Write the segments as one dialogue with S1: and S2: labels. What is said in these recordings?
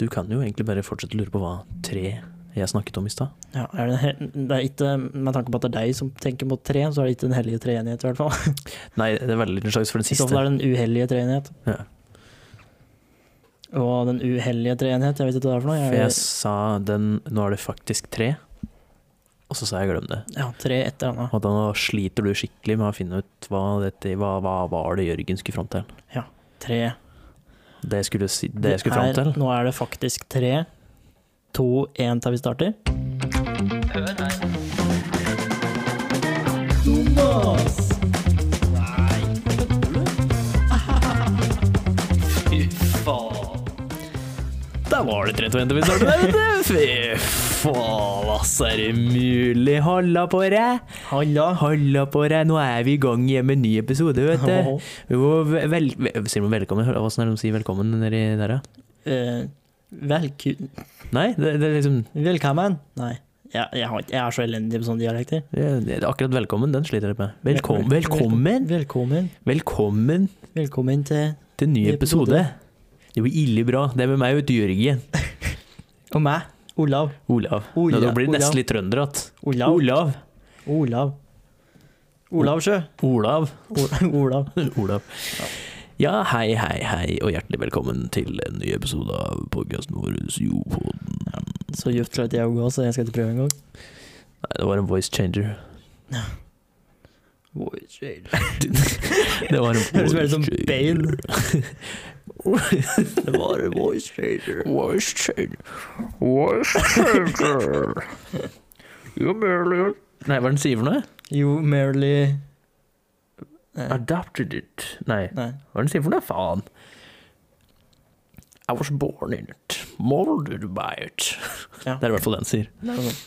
S1: Du kan jo egentlig bare fortsette å lure på hva tre jeg snakket om i stad.
S2: Ja, er det, det er ikke, med tanke på at det er deg som tenker mot tre, så er det ikke den hellige treenighet, i hvert fall.
S1: Nei, det er veldig liten sjanse for den
S2: I så
S1: siste.
S2: fall er det den uhellige treenighet.
S1: Ja.
S2: Og den uheldige treenighet, jeg vet ikke hva det er for noe.
S1: For jeg
S2: Jeg,
S1: sa den Nå er det faktisk tre, og så sa jeg glem det.
S2: ja, tre etter annet.
S1: Og da sliter du skikkelig med å finne ut hva, dette, hva, hva var det Jørgen skulle fram til.
S2: Tre.
S1: Det jeg skulle, si, det jeg skulle fram
S2: Her-
S1: til
S2: Nå er det faktisk tre, to, én til vi starter.
S1: Der var det 3-2-1 vi startet der, vet du! Fy faen, ass, er det mulig? Halla på deg!
S2: Halla.
S1: Halla på deg! Nå er vi i gang igjen med en ny episode, vet du.
S2: Ho, ho.
S1: Jo, vel, vel, sier man velkommen? Åssen er det de sier velkommen nedi der, da?
S2: Eh, velku...
S1: Nei, det, det er liksom
S2: Velkommen. Nei, jeg, jeg, har, ikke- jeg er så elendig på sånne dialekter.
S1: det, det, er Akkurat velkommen, den sliter jeg litt med. Velkom, velkommen!
S2: Velkommen.
S1: Velkommen
S2: Velkommen til
S1: til en ny
S2: Ny episode.
S1: episode. Det blir ille bra. Det er med meg og Jørgen.
S2: Og meg, Olav.
S1: Olav. Nå,
S2: Olav,
S1: da blir det
S2: Olav.
S1: nesten litt trønder igjen.
S2: Olav.
S1: Olav.
S2: Olav. Olav Sjø.
S1: Olav.
S2: Ol- Olav.
S1: Olav. Ja, hei, hei, hei, og hjertelig velkommen til en ny episode av podkasten vår Jopodden.
S2: Så djupt klarte jeg å gå, så jeg skal ikke prøve engang.
S1: Nei, det var en voice changer. Det var en
S2: Høres mer ut som
S1: changer.
S2: Bane. Det var en voice changer.
S1: Voice changer. Nei, hva er det den sier for noe?
S2: You merely Nei.
S1: Adapted it. Nei,
S2: Nei.
S1: hva er det den sier for noe? Faen. I was born in it. Molded by it.
S2: Ja.
S1: Det er i hvert fall det den sier.
S2: det var sånn.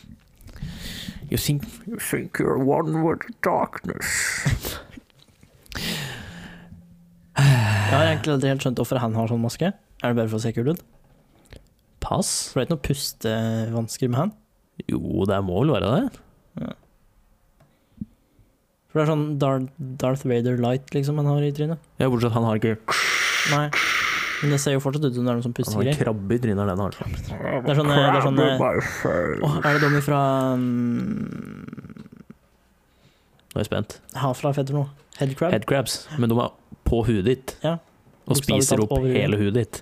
S1: You think you think you're one with the darkness.
S2: Jeg har egentlig aldri helt skjønt hvorfor han har sånn maske. Er det bare for å se kul ut?
S1: Pass?
S2: For det er ikke noe pustevansker med han.
S1: Jo, det må vel være det.
S2: For det er sånn Dar Darth Vader Light liksom han har i trynet.
S1: Ja, bortsett fra at han har ikke
S2: Nei. Men det ser jo fortsatt ut som det er noen sånn
S1: Han har en
S2: pustegreier.
S1: krabbe i trynet, den har han.
S2: Det er sånn, eh, det er sånn eh, Åh, er det de fra um,
S1: Nå er jeg spent.
S2: Half-Life heter det noe? Headcrab?
S1: Headcrabs. Men de er på huet ditt.
S2: Ja.
S1: Og spiser
S2: Bokstavelig
S1: opp
S2: talt over huet.
S1: hele hudet ditt.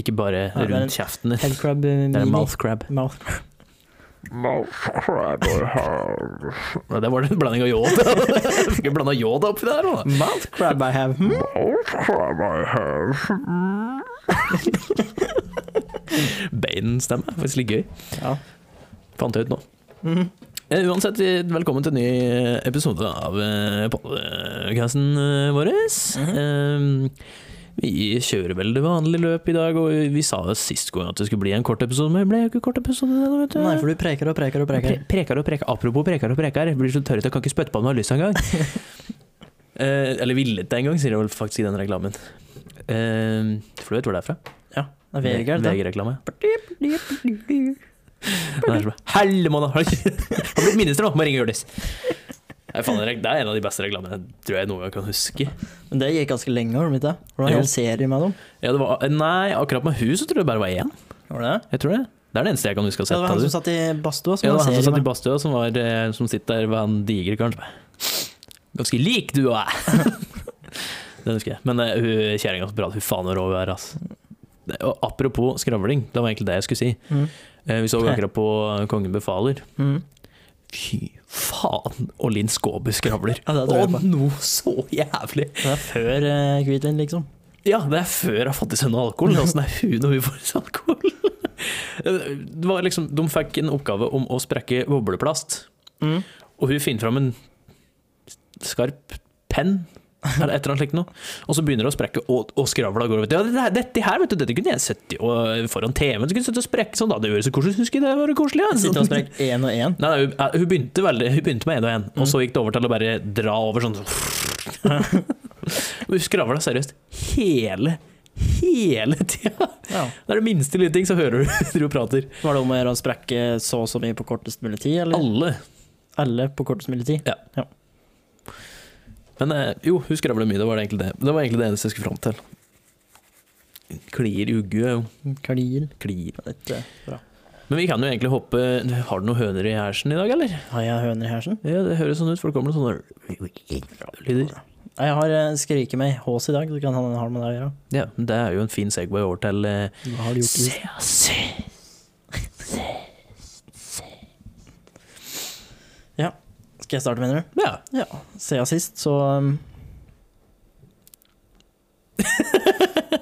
S1: Ikke bare
S2: Nei, det er en
S1: rundt kjeften din.
S2: Headcrab eh,
S1: Det er
S2: mini.
S1: en mouth crab.
S2: Mouth.
S1: Nei, det var en blanding av Yoda. Jeg Fikk blanda Yoda oppi der. Da.
S2: Mouth crab I have. Hmm?
S1: Bane-stemme er faktisk litt gøy.
S2: Ja.
S1: Fant jeg ut nå.
S2: Mhm.
S1: Eh, Uansett, eh, velkommen til en ny eh, episode av eh, podcasten eh, vår.
S2: Mhm.
S1: Eh, Vi kjører vel det vanlige løpet i dag, og vi sa jo sist gang at det skulle bli en kort episode, men det ble jo ikke kort episode. Det, da, vet du.
S2: Nei, for du preker og preker og preker.
S1: Pre preker og preker. Apropos preker og preker, jeg blir så tørr at jeg kan ikke spytte på om jeg har lyst engang. eh, eller villet det engang, sier de vel faktisk i den reklamen. Eh, for du vet hvor det er fra?
S2: Ja, det er Vegard. da.
S1: VG-reklame. Hellemann! Har du har blitt minister nå? Må ringe Hjørdis. Nei, faen, Det er det er en av de beste reklamene jeg tror jeg noen gang kan huske.
S2: Men det gikk ganske lenge, har de ikke det? Hvordan
S1: Jo.
S2: er det en serie med dem?
S1: Ja, det var, nei, akkurat med hun så tror jeg det bare var én.
S2: Var det det?
S1: Jeg tror Det Det er det eneste jeg kan huske å ha
S2: Ja, det
S1: sett. av
S2: var han
S1: det.
S2: som satt i badstua som
S1: Ja, det var
S2: var
S1: han som
S2: serie
S1: satt i
S2: med.
S1: badstua, som, var, eh, som sitter der ved han digre karen. som bare, Ganske lik du og jeg! Den husker jeg. Men eh, hun kjerringa som prater, fy faen hvor rå hun er, ass. Det- Og apropos skravling, det var egentlig det jeg skulle si.
S2: Mm.
S1: Eh, Vi så jo akkurat på Kongen befaler.
S2: Mm.
S1: Fy faen, og Linn Skåber skravler.
S2: Ja, det tror jeg
S1: og
S2: på.
S1: nå så jævlig!
S2: Det er før uh, Hvitvin, liksom.
S1: Ja, det er før jeg har fått i seg noe alkohol. Åssen er hun når hun får i seg alkohol? Det var liksom, de fikk en oppgave om å sprekke bobleplast,
S2: Mm.
S1: og hun finner fram en skarp penn. Eller et eller annet slikt noe. Og så begynner det å sprekke, og, og skravla går. Vet du. Ja, det, her- dette her vet du, dette kunne jeg sett i- og eh, foran TV-en. Så kunne jeg sett og sprekke sånn, da. Det høres så koselig ut. Husker jeg det var koselig? Ja.
S2: Sitter og sprekker én og én.
S1: Nei, nei hun, eh, hun, begynte veldig, hun begynte med én og én, og så gikk det over til å bare dra over sånn. hun skravla seriøst hele, hele tida.
S2: Ja.
S1: Det er det minste lille ting, så hører du når hun prater.
S2: Var det om å gjøre å sprekke så og så mye på kortest mulig tid, eller?
S1: Alle.
S2: Alle på kortest mulig tid?
S1: Ja. Men eh, jo, hun skravla mye, det var det egentlig det. Det var egentlig det eneste jeg skulle fram til. Klier i ugge.
S2: Klin.
S1: Klier.
S2: Mm, Dette er bra. Men
S1: Men vi kan jo egentlig hoppe Har du noen høner i hersen i dag, eller?
S2: Har jeg høner i hersen?
S1: Ja, Det høres sånn ut, for det kommer noen sånne lyder.
S2: Nei, Jeg har eh, skriket med hås i dag, så kan han ha det med deg å gjøre.
S1: Ja, det er jo en fin segway over til eh,
S2: Hva har du gjort? i-
S1: Se, se.
S2: Skal jeg starte, mener du?
S1: Ja.
S2: Ja. Siden sist, så um...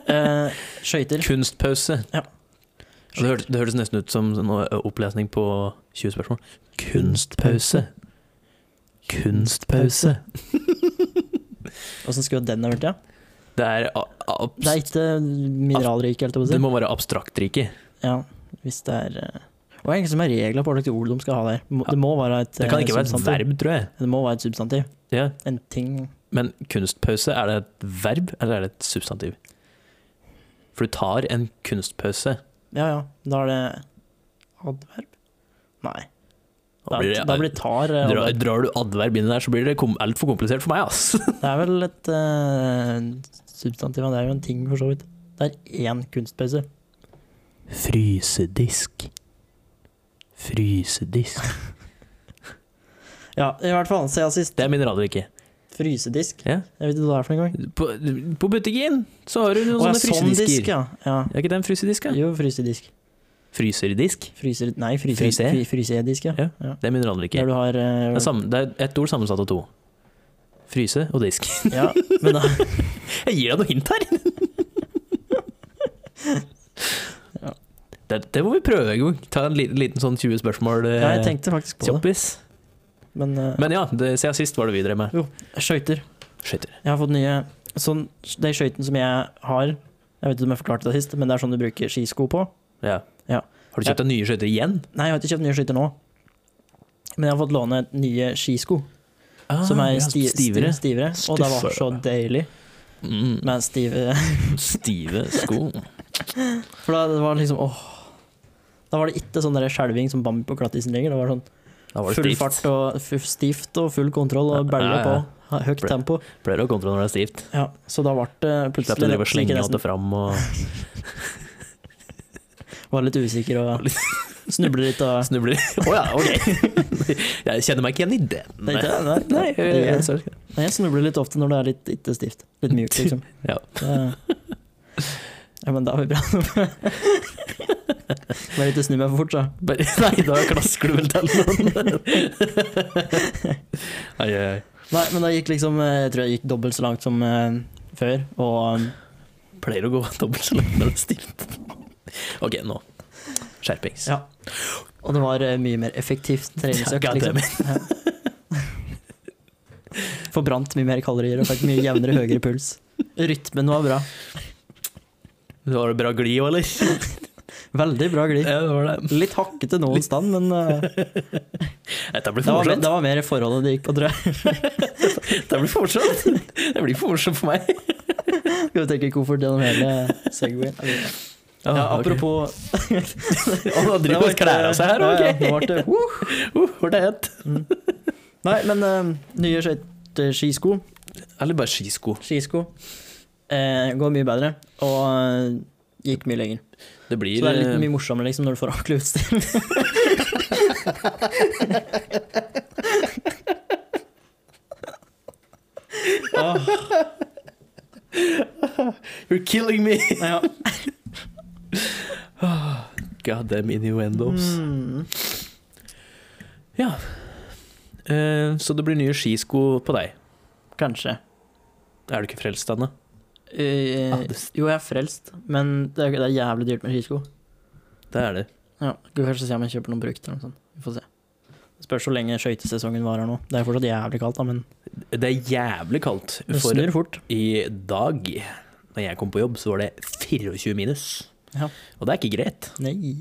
S2: eh, Skøyter.
S1: Kunstpause.
S2: Ja.
S1: Og Det, hørtes, det hørtes nesten ut som en eh, opplesning på 20 spørsmål. Kunstpause. Kunstpause.
S2: Åssen skulle den ha vært, ja?
S1: Det er a- a- abs-
S2: Det er ikke mineralrik, helt å si.
S1: Det må være abstraktrike.
S2: Ja, hvis det er eh, Hva er det egentlig som er regler på hva slags ord de skal ha der? Må- Det må være et
S1: Det kan
S2: eh,
S1: ikke være et
S2: substantiv.
S1: verb, tror jeg.
S2: Det må være et substantiv.
S1: Ja.
S2: En ting
S1: Men kunstpause, er det et verb, eller er det et substantiv? For du tar en kunstpause.
S2: Ja ja, da er det adverb? Nei.
S1: Da blir det,
S2: da blir tar eh,
S1: drar,
S2: adverb.
S1: drar du adverb inn der, så blir det kom, altfor komplisert for meg, ass.
S2: Det er vel et eh, substantiv, men det er jo en ting, for så vidt. Det er én kunstpause.
S1: Frysedisk. Frysedisk.
S2: Ja, i hvert fall. Siden sist.
S1: Det er mineralrikke.
S2: Frysedisk.
S1: Ja.
S2: Jeg vet ikke hva det er for en gang.
S1: På, på butikken så har du noen
S2: Å, ja,
S1: sånne
S2: sånn
S1: Sånn frysedisker.
S2: disk, ja. ja.
S1: Er ikke det en frysedisk? da?
S2: Jo, frysedisk.
S1: Fryserdisk.
S2: Fryser... Nei, fryser,
S1: Fryse?
S2: fry- frysedisk, ja.
S1: Ja.
S2: ja.
S1: Det er mineralrikke.
S2: Der du har eh,
S1: Det er, sammen, det er ett ord sammensatt av to. Fryse og disk.
S2: Ja, men eh, da
S1: Jeg gir deg noe hint her!
S2: Ja.
S1: det, det må vi prøve en gang. Ta en liten, liten sånn 20 spørsmål. eh,
S2: Ja, jeg tenkte faktisk på det.
S1: Kjappis.
S2: Men, eh,
S1: Men ja, det, siden sist var det vi drev med.
S2: skøyter.
S1: Skøyter.
S2: Jeg har fått nye sånn, De skøytene som jeg har Jeg vet ikke om jeg forklarte det sist, men det er sånn du bruker skisko på.
S1: Ja.
S2: Ja.
S1: Har du kjøpt deg nye skøyter igjen?
S2: Nei, jeg har ikke kjøpt nye skøyter nå. Men jeg har fått låne nye skisko, som
S1: Ah,
S2: er
S1: ja,
S2: sti Ah, stivere.
S1: stivere.
S2: stivere og det var
S1: Stiffere.
S2: så deilig
S1: Mm,
S2: med stive
S1: stive sko.
S2: For da det var liksom åh. Da var det ikke sånn der skjelving som Bambi på glattisen lenger. Det var sånn
S1: Da var det
S2: full
S1: stivt.
S2: fart og fu- stivt og full kontroll og
S1: Ja,
S2: bælje
S1: ja, ja.
S2: på. Ha- Høyt
S1: Ble-
S2: tempo.
S1: Pleier å kontra når det er stivt.
S2: Ja, så da ble
S1: Slapp å
S2: det plutselig
S1: drive og slenge
S2: nesten-
S1: alt det fram og
S2: Var litt usikker og snubler litt og
S1: snubler. Å ja, ok. Jeg kjenner meg ikke igjen i den.
S2: Nei, det- nei,
S1: Nei,
S2: nei,
S1: jeg, jeg, sorry.
S2: Nei, jeg snubler litt ofte når det er litt ikke stivt. Litt mjukt, liksom.
S1: Ja.
S2: Det, ja, men da er vi bra. Bare ikke snu meg for fort, så.
S1: Bare, nei, da klasker du vel til noen. Ai, ai, ai.
S2: Nei, men da gikk liksom eh, Jeg tror jeg gikk dobbelt så langt som eh, før, og um,
S1: Pleier å gå dobbelt så langt når det er stivt. Ok, nå. Skjerpings.
S2: Ja. Og det var eh, mye mer effektivt treningsøkt,
S1: God damn
S2: liksom. Forbrant mye mer kalorier og fikk mye jevnere, høyere puls. Rytmen var bra.
S1: Det var bra glid òg, eller?
S2: Veldig bra glid.
S1: Ja, det var det.
S2: Litt hakkete noen sted, men eh,
S1: Dette blir
S2: det,
S1: for
S2: var,
S1: morsomt.
S2: det var mer i forholdet det gikk på, tror jeg.
S1: Dette blir for morsomt. Det blir for morsomt for meg.
S2: Skal vi tenke koffert gjennom hele Segwayen? Ja,
S1: Ah, ok.
S2: apropos
S1: Å, nå driver vi og klær av seg her,
S2: Ja, ja,
S1: ok.
S2: nå ble det- Woo!
S1: Uh, var det hett?
S2: Nei, men eh, nye eh, skøyteskisko
S1: Eller bare skisko.
S2: Skisko eh, går mye bedre, og eh, gikk mye lenger.
S1: Det blir
S2: Så det er litt
S1: eh,
S2: mye morsommere liksom, når du får ordentlig utstyr. Åh,
S1: You're killing me!
S2: ja.
S1: God damn innuendos.
S2: Mm.
S1: Eh, så det blir nye skisko på deg.
S2: Kanskje.
S1: Er du ikke frelst ennå?
S2: Eh,
S1: Ah, det-
S2: jo, jeg er frelst, men det er, det er jævlig dyrt med skisko.
S1: Det er det.
S2: Ja, Skal kanskje se om jeg kjøper noen brukt eller noe sånt. Vi får se. Det spørs hvor lenge skøytesesongen varer nå. Det er fortsatt jævlig kaldt, da, men
S1: Det er jævlig kaldt.
S2: det
S1: For
S2: snur fort.
S1: i dag, når jeg kom på jobb, så var det 24 minus.
S2: Ja.
S1: Og det er ikke greit.
S2: Nei.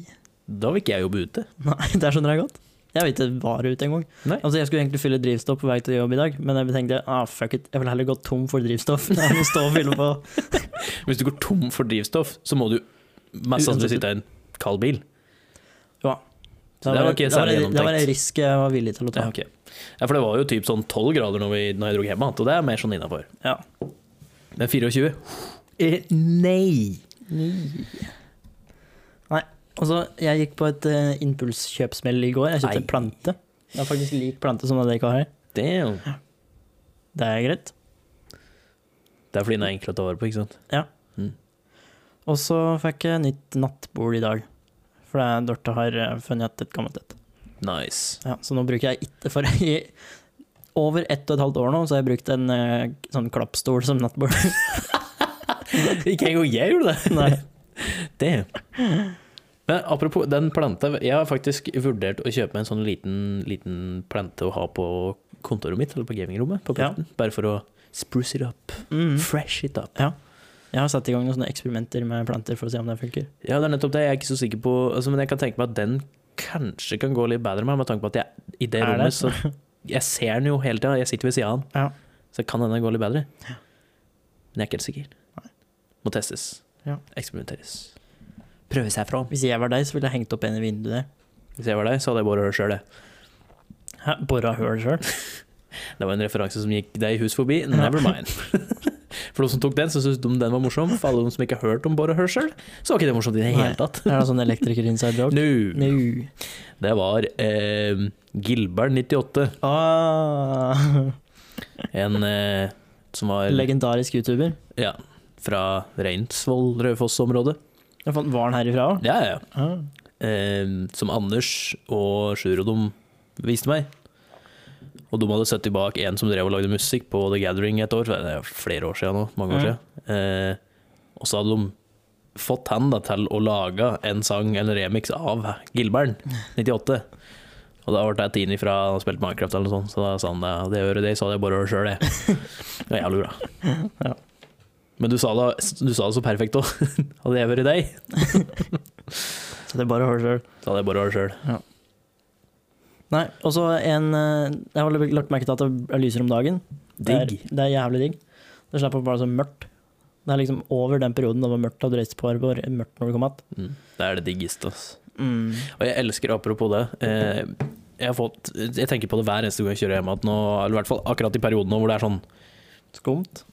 S1: Da vil ikke jeg jobbe ute.
S2: Nei, det skjønner jeg godt. Jeg vet ikke var ute engang.
S1: Nei.
S2: Altså, jeg skulle egentlig fylle drivstoff på vei til jobb i dag, men jeg tenkte ah, fuck it, jeg vil heller gå tom for drivstoff enn å stå og fylle på.
S1: Hvis du går tom for drivstoff, så må du mest sannsynlig sitte i en kald bil. Så det var ikke
S2: det var,
S1: særlig
S2: en- det var en
S1: gjennomtenkt.
S2: risk jeg var villig til å ta.
S1: Ja, ok. ja, for det var jo typ sånn 12 grader når, vi, når jeg dro hjem, og det er mer sånn innafor.
S2: Ja.
S1: Men 24 eh, Nei!
S2: Og så, jeg gikk på et eh, impulskjøpsmell i går. Jeg kjøpte
S1: Nei.
S2: en plante. Jeg har faktisk lik plante som dere ikke har her.
S1: Damn.
S2: Det er greit.
S1: Det er fordi den er enkel å ta vare på, ikke sant?
S2: Og så fikk jeg nytt nattbord i dag. For det er Dorte har eh, funnet et gammelt et.
S1: Nice.
S2: Ja, så nå bruker jeg ikke for i over ett og et halvt år nå, så har jeg brukt en eh, sånn klappstol som nattbord.
S1: ikke engang jeg gjorde det!
S2: Nei.
S1: Damn. Men apropos den planta, jeg har faktisk vurdert å kjøpe meg en sånn liten, liten plante å ha på kontoret mitt, eller på gamingrommet, på
S2: Ja.
S1: pulten, bare for å spruce it up,
S2: Mm.
S1: fresh it up.
S2: Jeg har satt i gang noen sånne eksperimenter med planter for å se om det funker.
S1: Ja, det er nettopp det, jeg er ikke så sikker på, altså, men jeg kan tenke meg at den kanskje kan gå litt bedre med, med tanke på at jeg, i det
S2: Er
S1: rommet, så jeg ser den jo hele tida, jeg sitter ved sida av den,
S2: Ja.
S1: så kan denne gå litt bedre. Men jeg er ikke helt sikker.
S2: Nei.
S1: Må testes.
S2: Ja.
S1: Eksperimenteres. Prøve seg fram.
S2: Hvis jeg var deg, så ville jeg hengt opp en i vinduet der.
S1: Hvis jeg var deg, så hadde jeg bare hørt sjøl, det.
S2: Hæ? Bora høl sjøl?
S1: Det var en referanse som gikk deg i hus forbi. Never mind. For de som tok den, så syntes de den var morsom. For alle de som ikke har hørt om Bård og Hørsel, så var ikke det morsomt i det hele
S2: Nei.
S1: tatt.
S2: Er det sånn elektriker inside joke?
S1: No.
S2: No.
S1: Det var eh, Gilbert 98,
S2: Ah,
S1: en eh, som var
S2: legendarisk YouTuber.
S1: ja, fra Reinsvoll, Raufoss-området.
S2: Jeg fant- Var han herifra òg?
S1: Ja, ja.
S2: Ah.
S1: Eh, som Anders og Sjur og dem viste meg. Og de hadde sett bak en som drev og lagde musikk på The Gathering et år, så det er flere år siden nå, mange år
S2: Mm.
S1: siden. Eh, og så hadde de fått han da til å lage en sang eller remix av Gilbern 98. Og da ble jeg tatt inn ifra han har spilt Minecraft eller noe sånt, så da sa han det. Det hører det, så hadde jeg bare hørt sjøl, det. Det var jævlig bra.
S2: Ja.
S1: Men du sa, det, du sa det så perfekt òg. Hadde jeg vært deg,
S2: Så det er bare å høre sjøl.
S1: så hadde jeg bare hørt sjøl.
S2: Nei, og så en eh, Jeg har lagt merke til at det er lyser om dagen. Det er,
S1: Digg.
S2: det er jævlig digg. Det slipper å være så mørkt. Det er liksom over den perioden det var mørkt og dreist på arbeid, mørkt når du kom att.
S1: Mm. Det er det diggeste. ass.
S2: Mm.
S1: Og jeg elsker, apropos det eh, jeg, har fått, jeg tenker på det hver eneste gang jeg kjører hjem, at nå, eller i hvert fall akkurat i perioden nå hvor det er sånn
S2: Skumt.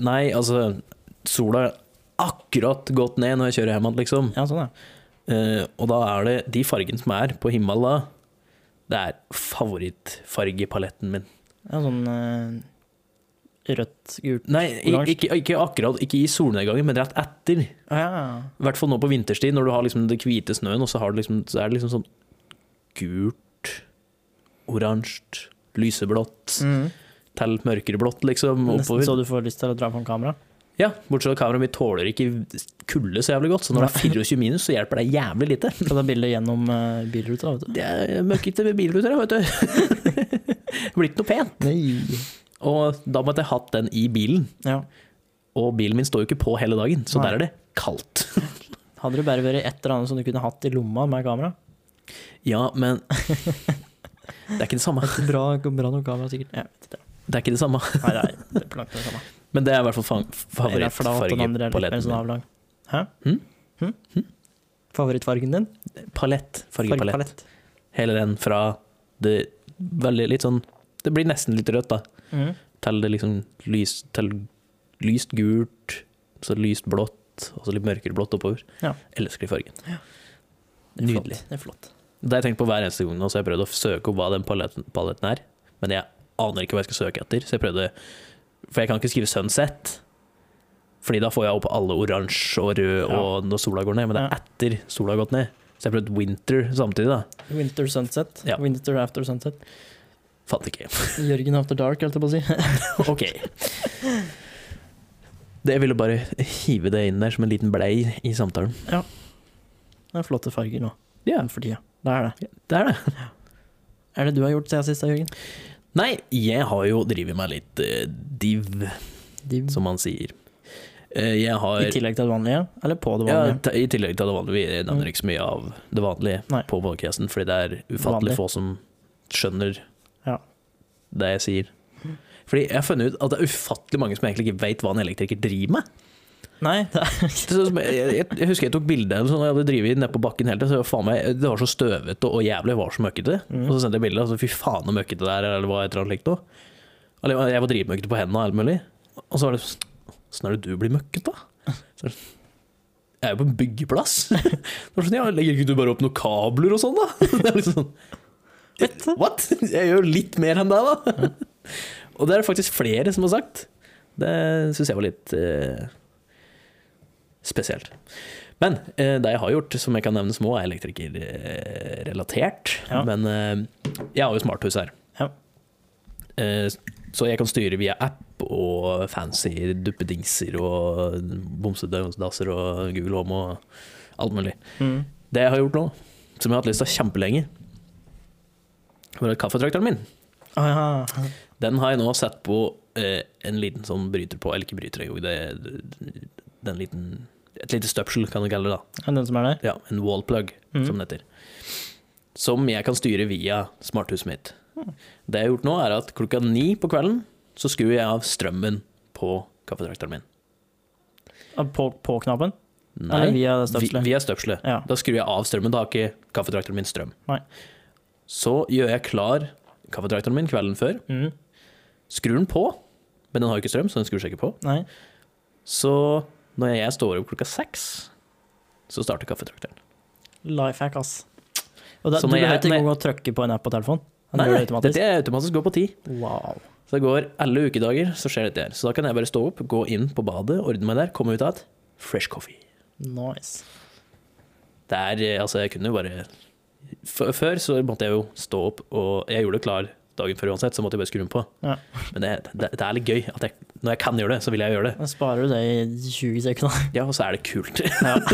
S1: Nei, altså, sola er akkurat gått ned når jeg kjører hjem, liksom.
S2: Ja, sånn, ja.
S1: Eh, og da er det de fargene som er på himmelen da, det er favorittfargepaletten min.
S2: ja sånn eh, rødt, gult
S1: Nei, i-
S2: Oransje.
S1: ikke, ikke akkurat, ikke i solnedgangen, men rett etter.
S2: ah, ja.
S1: I hvert fall nå på vinterstid, når du har liksom det hvite snøen, og så, har du liksom, så er det liksom sånn gult, oransje, lyseblått,
S2: Mm.
S1: til mørkere blått, liksom,
S2: Nesten så
S1: oppover.
S2: du får lyst til å dra på en kamera.
S1: Ja, bortsett fra kameraet mitt tåler ikke kulde så jævlig godt, så når det er 24 minus, så hjelper det jævlig lite.
S2: Så ta bilde gjennom eh, bilruta, vet du.
S1: Det er møkkete med bilruter, jeg, vet du. Det blir ikke noe pent. Og da måtte jeg hatt den i bilen,
S2: Ja.
S1: og bilen min står jo ikke på hele dagen, så
S2: Nei.
S1: der er det kaldt.
S2: Hadde det bare vært et eller annet som du kunne hatt i lomma med kamera?
S1: Ja, men det er ikke det samme.
S2: Bra, nok kamera, sikkert. Jeg vet ikke.
S1: Det er ikke det samme.
S2: Nei, det er, det er på langt det samme.
S1: Men det er i hvert fall fa-
S2: Den er flat, og den andre er litt mer
S1: favorittfargepaletten
S2: sånn
S1: min.
S2: avlang. Hæ?
S1: Hm?
S2: Hm? Favorittfargen din?
S1: Palett. Fargepalett.
S2: Fargepalett.
S1: Hele den fra det veldig litt sånn Det blir nesten litt rødt, da.
S2: Mhm.
S1: Til det liksom lys, til lyst gult, så lyst blått, og så litt mørkere blått oppover.
S2: Ja.
S1: Elsker de fargen.
S2: Det er flott.
S1: Nydelig.
S2: Det er flott.
S1: Det har jeg tenkt på hver eneste gang nå, så jeg har prøvd å søke opp hva den paletten, paletten er. Men jeg aner ikke hva jeg skal søke etter, så jeg prøvde For jeg kan ikke skrive 'sunset', Fordi da får jeg opp alle oransje og rød
S2: Ja.
S1: og når sola går ned, men det er
S2: Ja.
S1: etter sola har gått ned. Så jeg har prøvd 'winter' samtidig, da.
S2: Winter sunset.
S1: Ja.
S2: Winter after sunset.
S1: Fant ikke.
S2: Jørgen after dark, holdt jeg på å si.
S1: OK. Det jeg ville bare hive det inn der som en liten blei i samtalen.
S2: Det er flotte farger nå
S1: Ja,
S2: for tida. Det er det.
S1: det er det.
S2: Er det du har gjort siden sist, da, Jørgen?
S1: Nei, jeg har jo drevet meg litt eh, div, som man sier. Eh, jeg har
S2: I tillegg til det vanlige? Eller på det
S1: Ja,
S2: vanlige? Mm.
S1: t- I tillegg til det vanlige. Vi nevner ikke så mye av det vanlige
S2: Nei.
S1: på podcasten, fordi det er ufattelig
S2: Vanlig.
S1: få som skjønner
S2: Ja.
S1: det jeg sier. Fordi jeg har funnet ut at det er ufattelig mange som egentlig ikke vet hva en elektriker driver med.
S2: Nei, det er
S1: Det er sånn som- Jeg, jeg, jeg husker jeg tok bilde av en sånn, og jeg hadde drevet nede på bakken hele tiden, så jeg, faen meg, det var så støvete og jævlig, det var så møkkete.
S2: Mhm.
S1: Mm. Og så sendte jeg bilde, og så fy faen så møkkete det er, eller hva et eller annet slikt noe. Eller jeg var dritmøkkete på hendene og alt mulig. Og så var det sånn, åssen er det du blir møkkete, da? Så, Jeg er jo på en byggeplass. Det var sånn, ja, Legger ikke du bare opp noen kabler og sånn, da? Det er liksom sånn, What? What? Jeg gjør jo litt mer enn deg, da. Og det er det faktisk flere som har sagt. Det syns jeg var litt eh, spesielt. Men eh, det jeg har gjort, som jeg kan nevne som òg er elektrikerrelatert
S2: Ja.
S1: Men eh, jeg har jo smarthus her.
S2: Ja.
S1: Eh, så jeg kan styre via app og fancy duppedingser og bomsedasser og Google Home og alt mulig.
S2: Mm.
S1: Det jeg har gjort nå, som jeg har hatt lyst til kjempelenge, var at kaffetrakteren min.
S2: Ah, ja.
S1: Den har jeg nå satt på eh, en liten sånn bryter på, eller ikke bryter, jo, det er den liten, et lite støpsel, kan du kalle det da.
S2: Er det den som er der?
S1: Ja, en wallplug,
S2: Mhm.
S1: som det heter. Som jeg kan styre via smarthuset mitt. Det jeg har gjort nå er at klokka ni på kvelden, så skrur jeg av strømmen på kaffetrakteren min.
S2: Ah, På, på knappen?
S1: Nei,
S2: Eller via
S1: vi-
S2: det støpselet?
S1: via støpselet.
S2: Ja.
S1: Da skrur jeg av strømmen, da har ikke kaffetraktoren min strøm.
S2: Nei.
S1: Så gjør jeg klar kaffetraktoren min kvelden før,
S2: Mm.
S1: skrur den på, men den har jo ikke strøm, så den skrur seg ikke på.
S2: Nei.
S1: Så når jeg står opp klokka seks, så starter kaffetrakteren.
S2: Life hack, ass. Og da,
S1: Så
S2: du
S1: når jeg-
S2: behøver ikke
S1: når jeg-
S2: engang å trykke på en app på telefonen. Han
S1: Nei,
S2: gjør
S1: nei,
S2: det automatisk.
S1: dette er automatisk går på ti.
S2: Wow.
S1: Så det går alle ukedager, så skjer dette her. Så da kan jeg bare stå opp, gå inn på badet, ordne meg der, komme ut av et fresh coffee.
S2: Nice.
S1: Det er, eh, altså, jeg kunne jo bare F Før så måtte jeg jo stå opp, og jeg gjorde det klar dagen før uansett, så måtte jeg bare skru den på.
S2: Ja.
S1: Men det, det, det er litt gøy. At jeg, når jeg kan gjøre det, så vil jeg gjøre det.
S2: Da sparer du det i 20 sekunder.
S1: Ja, og så er det kult.
S2: Ja.
S1: og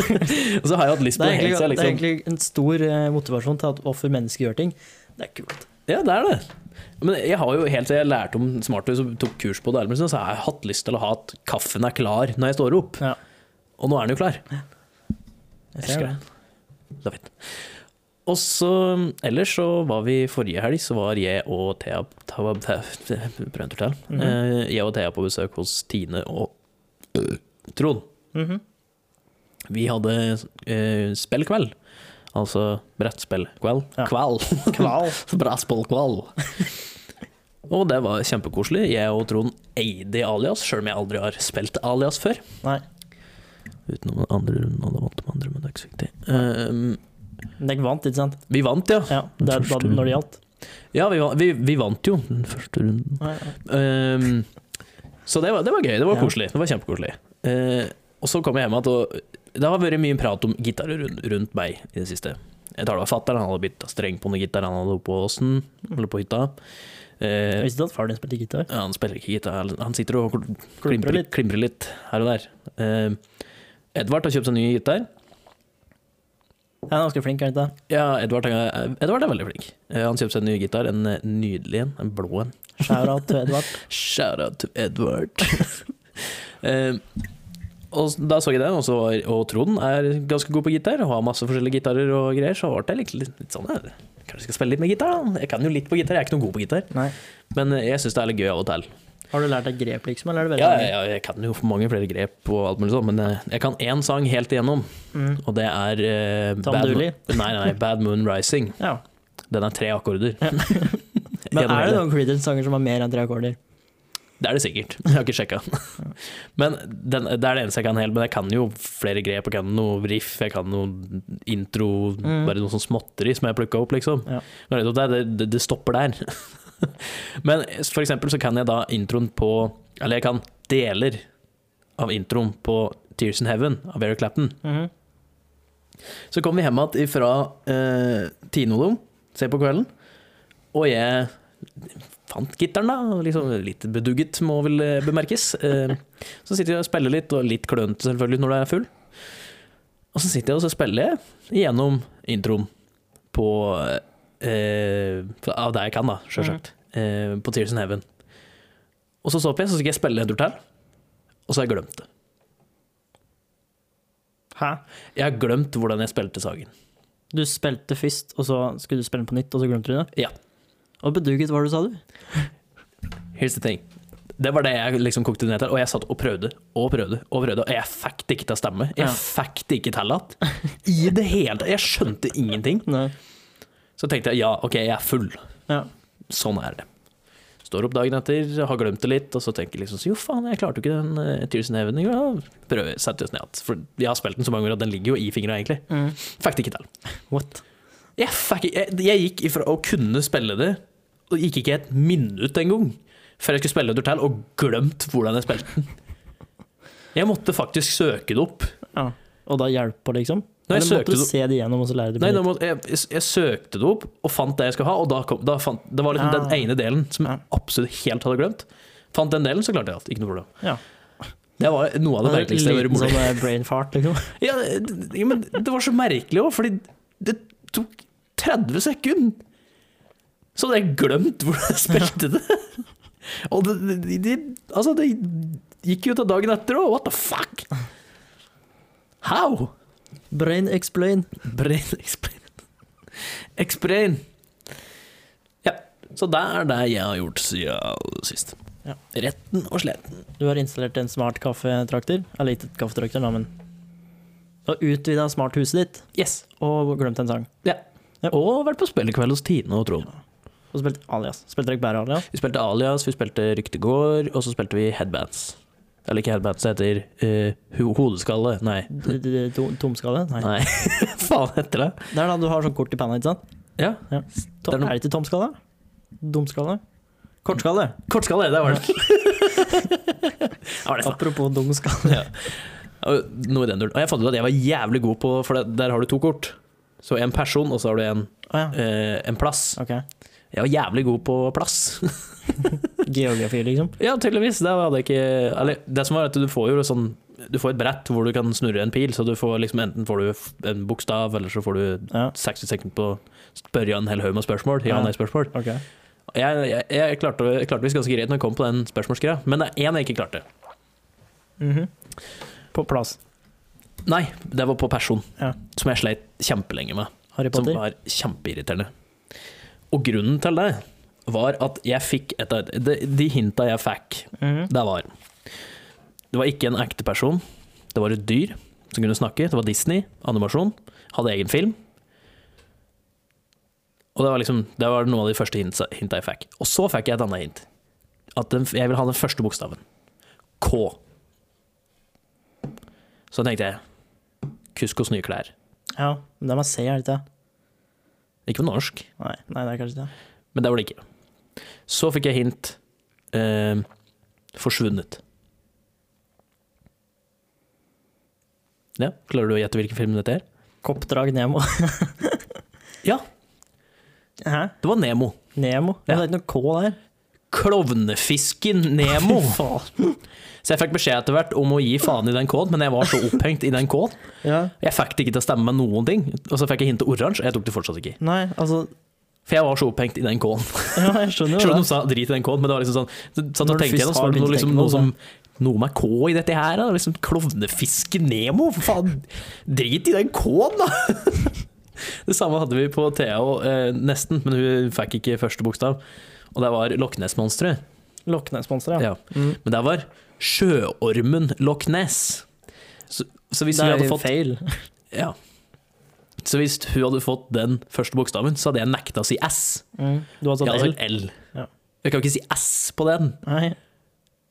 S1: så har jeg hatt lyst
S2: Det
S1: på
S2: er,
S1: det helt siden.
S2: egentlig, det er
S1: Liksom.
S2: egentlig en stor eh, motivasjon til at hvorfor mennesker gjør ting. Det er kult.
S1: Ja, det er det. Men jeg har jo helt til jeg lærte om smarthus og tok kurs på det, Elmersen, så har jeg hatt lyst til å ha at kaffen er klar når jeg står opp.
S2: Ja.
S1: Og nå er den jo klar.
S2: Jeg
S1: Elsker
S2: ser
S1: det. Det er fint. Og så Ellers så var vi forrige helg, så var jeg og Thea Thea- Thea- Thea- Prøv en tur til.
S2: Mhm.
S1: Eh, Jeg og Thea på besøk hos Tine og øh, Trond.
S2: Mhm.
S1: Vi hadde eh, spillkveld. Altså brettspillkveld.
S2: Ja.
S1: Kveld.
S2: Kval.
S1: Brassballkvall. Og det var kjempekoselig. Jeg og Trond eide i Alias, sjøl om jeg aldri har spilt Alias før.
S2: Nei.
S1: Utenom den andre runden, og da vant de andre, men det er ikke så viktig. Ehm,
S2: Men Dere vant, ikke sant?
S1: vi vant, ja.
S2: Ja, det er da,
S1: Første-
S2: når det gjaldt.
S1: Ja, vi, va- vi, vi vant jo den første runden.
S2: Nei, nei.
S1: Ehm, så det var, det var gøy. Det var
S2: Ja.
S1: koselig. Det var kjempekoselig. Eh, og så kom jeg hjem igjen, og det har vært mye prat om gitarer rundt, rundt meg i det siste. Jeg tar det av fatter'n, han hadde bytta streng på noen gitar han hadde oppe på åsen, eller på hytta. Eh,
S2: Jeg visste ikke at far din spilte gitar.
S1: Ja, han spiller ikke gitar, han sitter og kl-
S2: Klipper
S1: klimprer
S2: litt.
S1: litt, klimprer litt her og der. Eh, Edvard har kjøpt seg ny gitar.
S2: Ja, Han er ganske flink, er han ikke det?
S1: Ja, Edvard er, Edvard er veldig flink. Eh, han kjøpte seg en ny gitar, en eh, nydelig en, en blå en.
S2: Shout-out til Edvard.
S1: Shout out to Edvard. Eh, og s- da så jeg den, og, så var, og Trond er ganske god på gitar, og har masse forskjellige gitarer og greier, så ble jeg litt, litt, litt sånn eh, Kanskje jeg skal spille litt med gitar, da? Jeg kan jo litt på gitar, jeg er ikke noe god på gitar,
S2: Nei.
S1: men eh, jeg syns det er litt gøy av og til.
S2: Har du lært deg grep, liksom? Eller er det
S1: Ja,
S2: veldig
S1: ja, ja, jeg kan jo for mange flere grep og alt mulig sånn, men eh, jeg kan én sang helt igjennom,
S2: Mm.
S1: og det er eh,
S2: Tom
S1: Bad Mo-
S2: Dooley?
S1: Nei, nei, Bad Moon Rising.
S2: ja.
S1: Den er tre akkorder.
S2: Ja. Men
S1: Gjennom
S2: er det
S1: hele.
S2: noen Creedence-sanger som har mer enn tre akkorder?
S1: Det er det sikkert, jeg har ikke sjekka. Men den, det er det eneste jeg kan helt, men jeg kan jo flere grep, jeg kan noe riff, jeg kan noe intro,
S2: Mm.
S1: bare noe sånn småtteri som jeg plukka opp, liksom.
S2: Ja.
S1: Men Det, det, det, det stopper der. men for eksempel så kan jeg da introen på Eller jeg kan deler av introen på Tears in Heaven av Eric Clapton.
S2: Mhm.
S1: Så kom vi hjem igjen fra eh, Tinodom, se på kvelden, og jeg fant gitaren da, og liksom litt bedugget må vel eh, bemerkes. Eh, så sitter jeg og spiller litt, og litt klønete selvfølgelig når du er full. Og så sitter jeg og så spiller jeg gjennom introen på, eh, av det jeg kan da, selvsagt, eh, på Tears in Heaven. Og så stopper jeg, så skal jeg spille en tur til, og så har jeg glemt det.
S2: Hæ?
S1: Jeg har glemt hvordan jeg spilte sangen.
S2: Du spilte først, og så skulle du spille den på nytt, og så glemte du det?
S1: Ja.
S2: Og beduget var det du, sa du?
S1: Here's the thing. Det var det jeg liksom kokte det ned til, og jeg satt og prøvde og prøvde. Og prøvde, og jeg fikk det ikke til å stemme. Jeg
S2: Ja.
S1: fikk det ikke til at I det hele tatt. Jeg skjønte ingenting.
S2: Nei.
S1: Så tenkte jeg ja, OK, jeg er full.
S2: Ja.
S1: Sånn er det. Står opp dagen etter, har glemt det litt, og så tenker liksom så, jo faen, jeg klarte jo ikke den uh, Tears in Heaven. i går, da Prøver å sette oss ned igjen. For vi har spilt den så mange ganger at den ligger jo i fingra, egentlig.
S2: Mm.
S1: Fikk det ikke til.
S2: What?
S1: Jeg, fikk, jeg, jeg gikk ifra å kunne spille det, og gikk ikke et minutt engang, før jeg skulle spille det til, og glemt hvordan jeg spilte den. Jeg måtte faktisk søke det opp.
S2: Ja. Og da hjelper det, liksom?
S1: Nei, jeg
S2: Eller
S1: søkte
S2: måtte du
S1: det-
S2: se det igjennom og så lære det på
S1: Nei, da
S2: nytt?
S1: må, jeg, jeg, jeg søkte det opp og fant det jeg skulle ha, og da kom, da fant, det var liksom
S2: Ah.
S1: den ene delen som
S2: Ja.
S1: jeg absolutt helt hadde glemt. Fant den delen, så klarte jeg alt. Ikke noe problem.
S2: Ja.
S1: Det var noe av det
S2: en
S1: merkeligste jeg har vært
S2: liten
S1: borti.
S2: sånn eh, brain fart, liksom.
S1: Ja, det- ja, men det var så merkelig òg, fordi det tok 30 sekunder! Så hadde jeg glemt hvordan jeg spilte det. Og det, det, det, altså det gikk jo til dagen etter òg. What the fuck? How?
S2: Brain explain.
S1: Brain explain. Explain. Ja, så det er det jeg har gjort siden sist.
S2: Ja.
S1: Retten og sletten.
S2: Du har installert en smart kaffetrakter. Eller ikke et kaffetrakter, da, men Du har utvida smarthuset ditt
S1: Yes.
S2: og glemt en sang.
S1: Og vært på spillekveld hos Tine og Trond.
S2: Og spilt Alias. Spilte dere ikke bare Alias?
S1: Vi spilte Alias, vi spilte Ryktegård, og så spilte vi Headbands. Eller ikke Headbands, det heter eh, ho Hodeskalle. Nei.
S2: D- d- d- Tomskalle? Nei.
S1: Nei, faen heter det.
S2: Det er da du har sånn kort i panna, ikke sant?
S1: Ja.
S2: To
S1: Det er
S2: er,
S1: noe-
S2: det ikke tomskalle? Dumskalle? Kortskalle.
S1: Kortskalle, det var det. det var det.
S2: Apropos dumskalle.
S1: Ja. Og Noe i den duren. Og jeg fant ut at jeg var jævlig god på For det- der har du to kort. Så en person, og så har du en,
S2: Å ja.
S1: eh, en plass.
S2: Ok.
S1: Jeg var jævlig god på plass.
S2: Geografi, liksom.
S1: ja, tydeligvis. Det hadde jeg ikke Eller det som var at du får jo sånn Du får et brett hvor du kan snurre en pil, så du får liksom enten får du f- en bokstav, eller så får du
S2: Ja.
S1: 60 sekunder på å spørre en hel haug med spørsmål. Ja,
S2: Ja.
S1: nei-spørsmål.
S2: Ok.
S1: Jeg, jeg, jeg klarte jeg klarte visst ganske greit når jeg kom på den spørsmålsgreia, men det er én jeg ikke klarte.
S2: Mhm. På plass.
S1: Nei, det var på person,
S2: Ja.
S1: som jeg sleit kjempelenge med.
S2: Harry
S1: Som
S2: Potter.
S1: var kjempeirriterende. Og grunnen til det var at jeg fikk et av de, de hinta jeg fikk,
S2: Mhm.
S1: det var Det var ikke en ekte person. Det var et dyr som kunne snakke. Det var Disney, animasjon. Hadde egen film. Og det var liksom Det var noen av de første hinta, hinta jeg fikk. Og så fikk jeg et annet hint. At den, jeg vil ha den første bokstaven. K. Så tenkte jeg Kuskos nye klær.
S2: Ja. Men det er med C, er det ikke det?
S1: Ikke på norsk.
S2: Nei, nei, det er kanskje ikke det.
S1: Men det var det ikke. Så fikk jeg hint eh, Forsvunnet. Ja, Klarer du å gjette hvilken film dette er?
S2: Koppdrag Nemo.
S1: Ja.
S2: Hæ?
S1: Det var Nemo.
S2: Nemo?
S1: Ja.
S2: Ja. Det er ikke noe K der.
S1: Klovnefisken Nemo! Så jeg fikk beskjed etter hvert om å gi faen i den K-en, men jeg var så opphengt i den K-en.
S2: Ja.
S1: Jeg fikk det ikke til å stemme med noen ting. Og så fikk jeg hintet oransje, og jeg tok det fortsatt ikke.
S2: Nei, altså
S1: For jeg var så opphengt i den K-en.
S2: Ja, jeg skjønner
S1: Selv
S2: jo
S1: om
S2: det.
S1: de sa drit i den K-en, men det var liksom sånn så Satt
S2: Når
S1: og
S2: du
S1: tenkte
S2: først
S1: igjen, og så var
S2: har
S1: det noe,
S2: begynt å
S1: liksom,
S2: tenke
S1: noe
S2: på det,
S1: som Noe med K i dette her, da. Liksom klovnefiske Nemo, for faen. Drit i den K-en, da! Det samme hadde vi på Thea, og, eh, nesten, men hun fikk ikke første bokstav. Og det var Loch Ness-monsteret.
S2: Loch Ness-monsteret, ja. Mm.
S1: Ja. Men det var sjøormen Loch Ness. Så, så hvis
S2: det
S1: vi
S2: er
S1: hadde
S2: jo
S1: fått
S2: feil.
S1: Ja. Så hvis hun hadde fått den første bokstaven, så hadde jeg nekta å si S.
S2: Du har sånn
S1: Jeg hadde
S2: L.
S1: sagt L.
S2: Ja.
S1: Jeg kan ikke si S på den.
S2: Nei,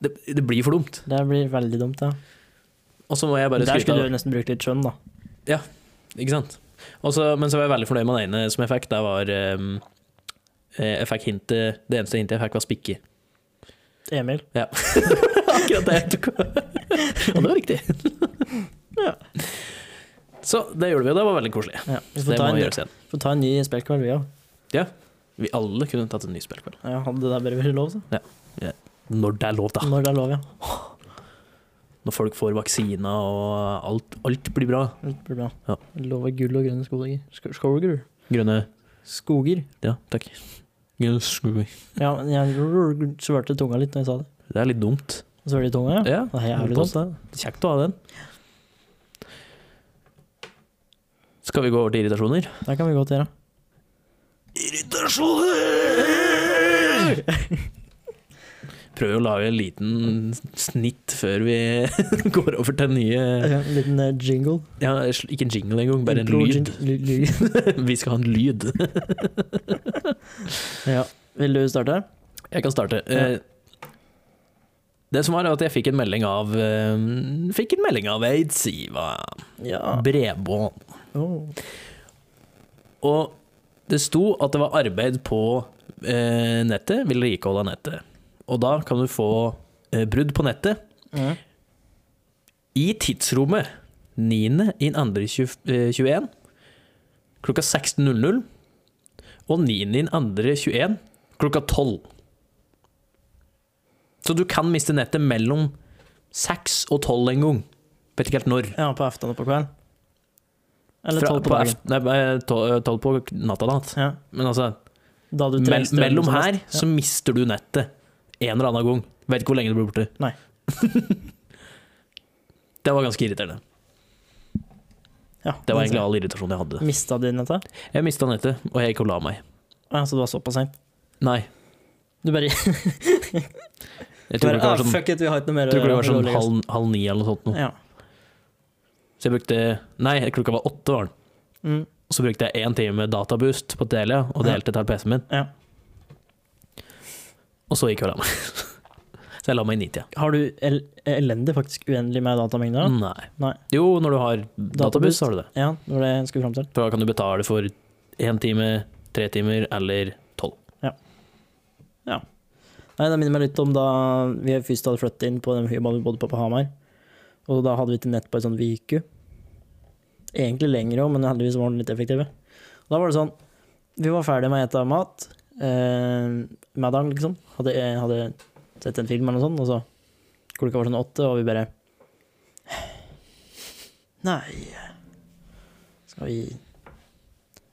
S1: Det, det blir for dumt.
S2: det blir veldig dumt, ja.
S1: Og så må jeg bare
S2: Der
S1: skryte
S2: skulle
S1: av
S2: du nesten brukt litt skjønn, da.
S1: Ikke sant? Og så- men så var jeg veldig fornøyd med den ene som jeg fikk. Det var ehm, eh, Jeg fikk hintet Det eneste hintet jeg fikk, var spikke.
S2: Emil.
S1: Akkurat det jeg tok. Og det var riktig. ja. Så det gjorde vi, og det var veldig koselig.
S2: Ja. Vi
S1: Så
S2: får
S1: det
S2: ta,
S1: må
S2: en,
S1: gjøres igjen.
S2: får ta en ny spillkveld, vi òg.
S1: Vi alle kunne tatt en ny spillkveld.
S2: Ja, hadde det der bare vært lov, så.
S1: Når det er lov, da.
S2: Når det er lov, ja.
S1: Når folk får vaksiner og alt, alt blir bra.
S2: Det blir bra.
S1: Ja.
S2: Lov er gull og grønne skoger. Sk- Skoger?
S1: Grønne
S2: Skoger.
S1: Ja, takk. Grønne skoger.
S2: Ja, men jeg svørte tunga litt når jeg sa det.
S1: Det er litt dumt.
S2: Svørte i tunga, ja.
S1: Ja,
S2: Det er jævlig
S1: holdt på å si. Kjekt å ha den. Skal vi gå over til irritasjoner?
S2: Det kan vi godt gjøre.
S1: Irritasjoner! Prøver å lage en liten snitt før vi går over til nye
S2: En liten eh, jingle.
S1: ja, Ikke en jingle engang, bare en
S2: Impro-
S1: lyd.
S2: jing- ly- lyd.
S1: Vi skal ha en lyd.
S2: ja. Vil du starte?
S1: Jeg kan starte.
S2: Ja.
S1: Eh, Det som var, er at jeg fikk en melding av eh, Fikk en melding av Eidsiva
S2: Ja.
S1: Bredbånd.
S2: Oh.
S1: Og det sto at det var arbeid på eh, nettet, vedlikehold av nettet. Og da kan du få eh, brudd på nettet
S2: Mm.
S1: i tidsrommet 9.2.21 eh, klokka 16.00 og 9.2.21 klokka 12. Så du kan miste nettet mellom 6 og 12 en gang. Vet ikke helt når.
S2: ja, på aften og på kveld. Eller
S1: Fra-
S2: tolv på dagen.
S1: aft- Nei, eh, tol- eh, 12 på natta, da.
S2: Ja.
S1: Men altså,
S2: Da du
S1: mell
S2: trenger strøm
S1: mellom
S2: som
S1: her
S2: mest.
S1: så mister du nettet en eller annen gang. Vet ikke hvor lenge det blir borte.
S2: Nei.
S1: det var ganske irriterende.
S2: ja.
S1: Det var egentlig all irritasjonen jeg hadde.
S2: Mista du nettet?
S1: Jeg mista nettet, og jeg gikk og la meg.
S2: Å ja, så det var såpass seint?
S1: Nei.
S2: Du bare,
S1: Jeg
S2: du
S1: tror
S2: bare
S1: det var
S2: ah,
S1: sånn,
S2: Fuck it, vi har ikke noe mer
S1: jeg tror ikke det var
S2: å
S1: sånn
S2: legge oss».
S1: halv, halv ni eller noe sånt. Nå.
S2: Ja.
S1: Så jeg brukte Nei, klokka var åtte, var den.
S2: Mm.
S1: Og så brukte jeg én time databoost på Telia og delte til PC-en min.
S2: Ja.
S1: Og så gikk jeg og la meg. Så jeg la meg i nitida.
S2: Har du el elendig, faktisk, uendelig med datamengder? da?
S1: Nei.
S2: Nei.
S1: Jo, når du har databoost, så har du det.
S2: Ja, det var det jeg skulle fram til.
S1: For da kan du betale for én time, tre timer eller tolv.
S2: Nei, Det minner meg litt om da vi først hadde flyttet inn på den hybelen vi bodde på på Hamar. Og da hadde vi ikke nett på en sånn uke. Egentlig lenger òg, men heldigvis var den litt effektive. Og da var det sånn Vi var ferdig med å spise mat. Eh, middagen, liksom. Hadde, eh, hadde sett en film eller noe sånt, og så klokka var sånn åtte, og vi bare Nei Skal vi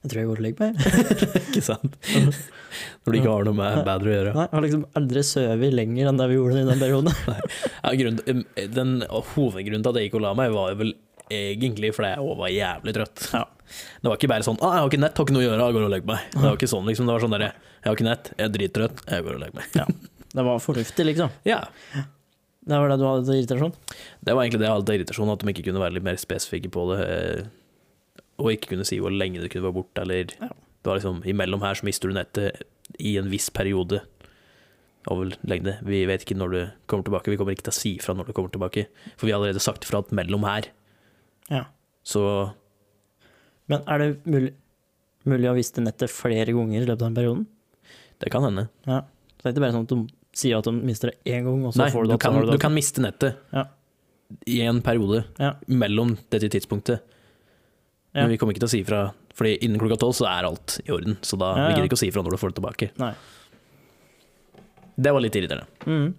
S2: Jeg tror jeg går og legger meg.
S1: Ikke sant? Når du ikke har noe med bedre å gjøre.
S2: Nei, jeg har liksom aldri sovet lenger enn det vi gjorde i den perioden.
S1: Ja, grunnen, den hovedgrunnen til at jeg gikk og la meg, var vel egentlig fordi jeg også var jævlig trøtt. Det var ikke bare sånn 'Å, jeg har ikke nett, har ikke noe å gjøre, jeg går og legger meg'. Det var ikke sånn, liksom. Det var sånn derre 'Jeg har ikke nett, jeg er drittrøtt, jeg går og legger meg'.
S2: Det var fornuftig, liksom.
S1: Ja.
S2: Det var det du hadde til irritasjon?
S1: Det var egentlig det jeg hadde til irritasjon, at de ikke kunne være litt mer spesifikke på det. eh, Og ikke kunne si hvor lenge det kunne være borte, eller
S2: Ja.
S1: Det var liksom imellom her så mister du nettet i en viss periode. Over lengde. Vi vet ikke når du kommer tilbake, vi kommer ikke til å si fra når du kommer tilbake. For vi har allerede sagt ifra at mellom her
S2: Ja.
S1: Så
S2: Men er det mulig, mulig å vise til nettet flere ganger i løpet av den perioden?
S1: det kan hende.
S2: Så det er ikke bare sånn at de sier at de mister det én gang, og så
S1: Nei,
S2: får
S1: du,
S2: du det
S1: kan,
S2: og så har
S1: du
S2: det.
S1: kan miste nettet
S2: Ja.
S1: i en periode
S2: Ja.
S1: mellom dette tidspunktet.
S2: Ja.
S1: Men vi kommer ikke til å si ifra, Fordi innen klokka tolv så er alt i orden. Så da
S2: Ja,
S1: vi
S2: ja.
S1: gidder ikke å si ifra når du får det tilbake.
S2: Nei.
S1: Det var litt irriterende.
S2: Mhm.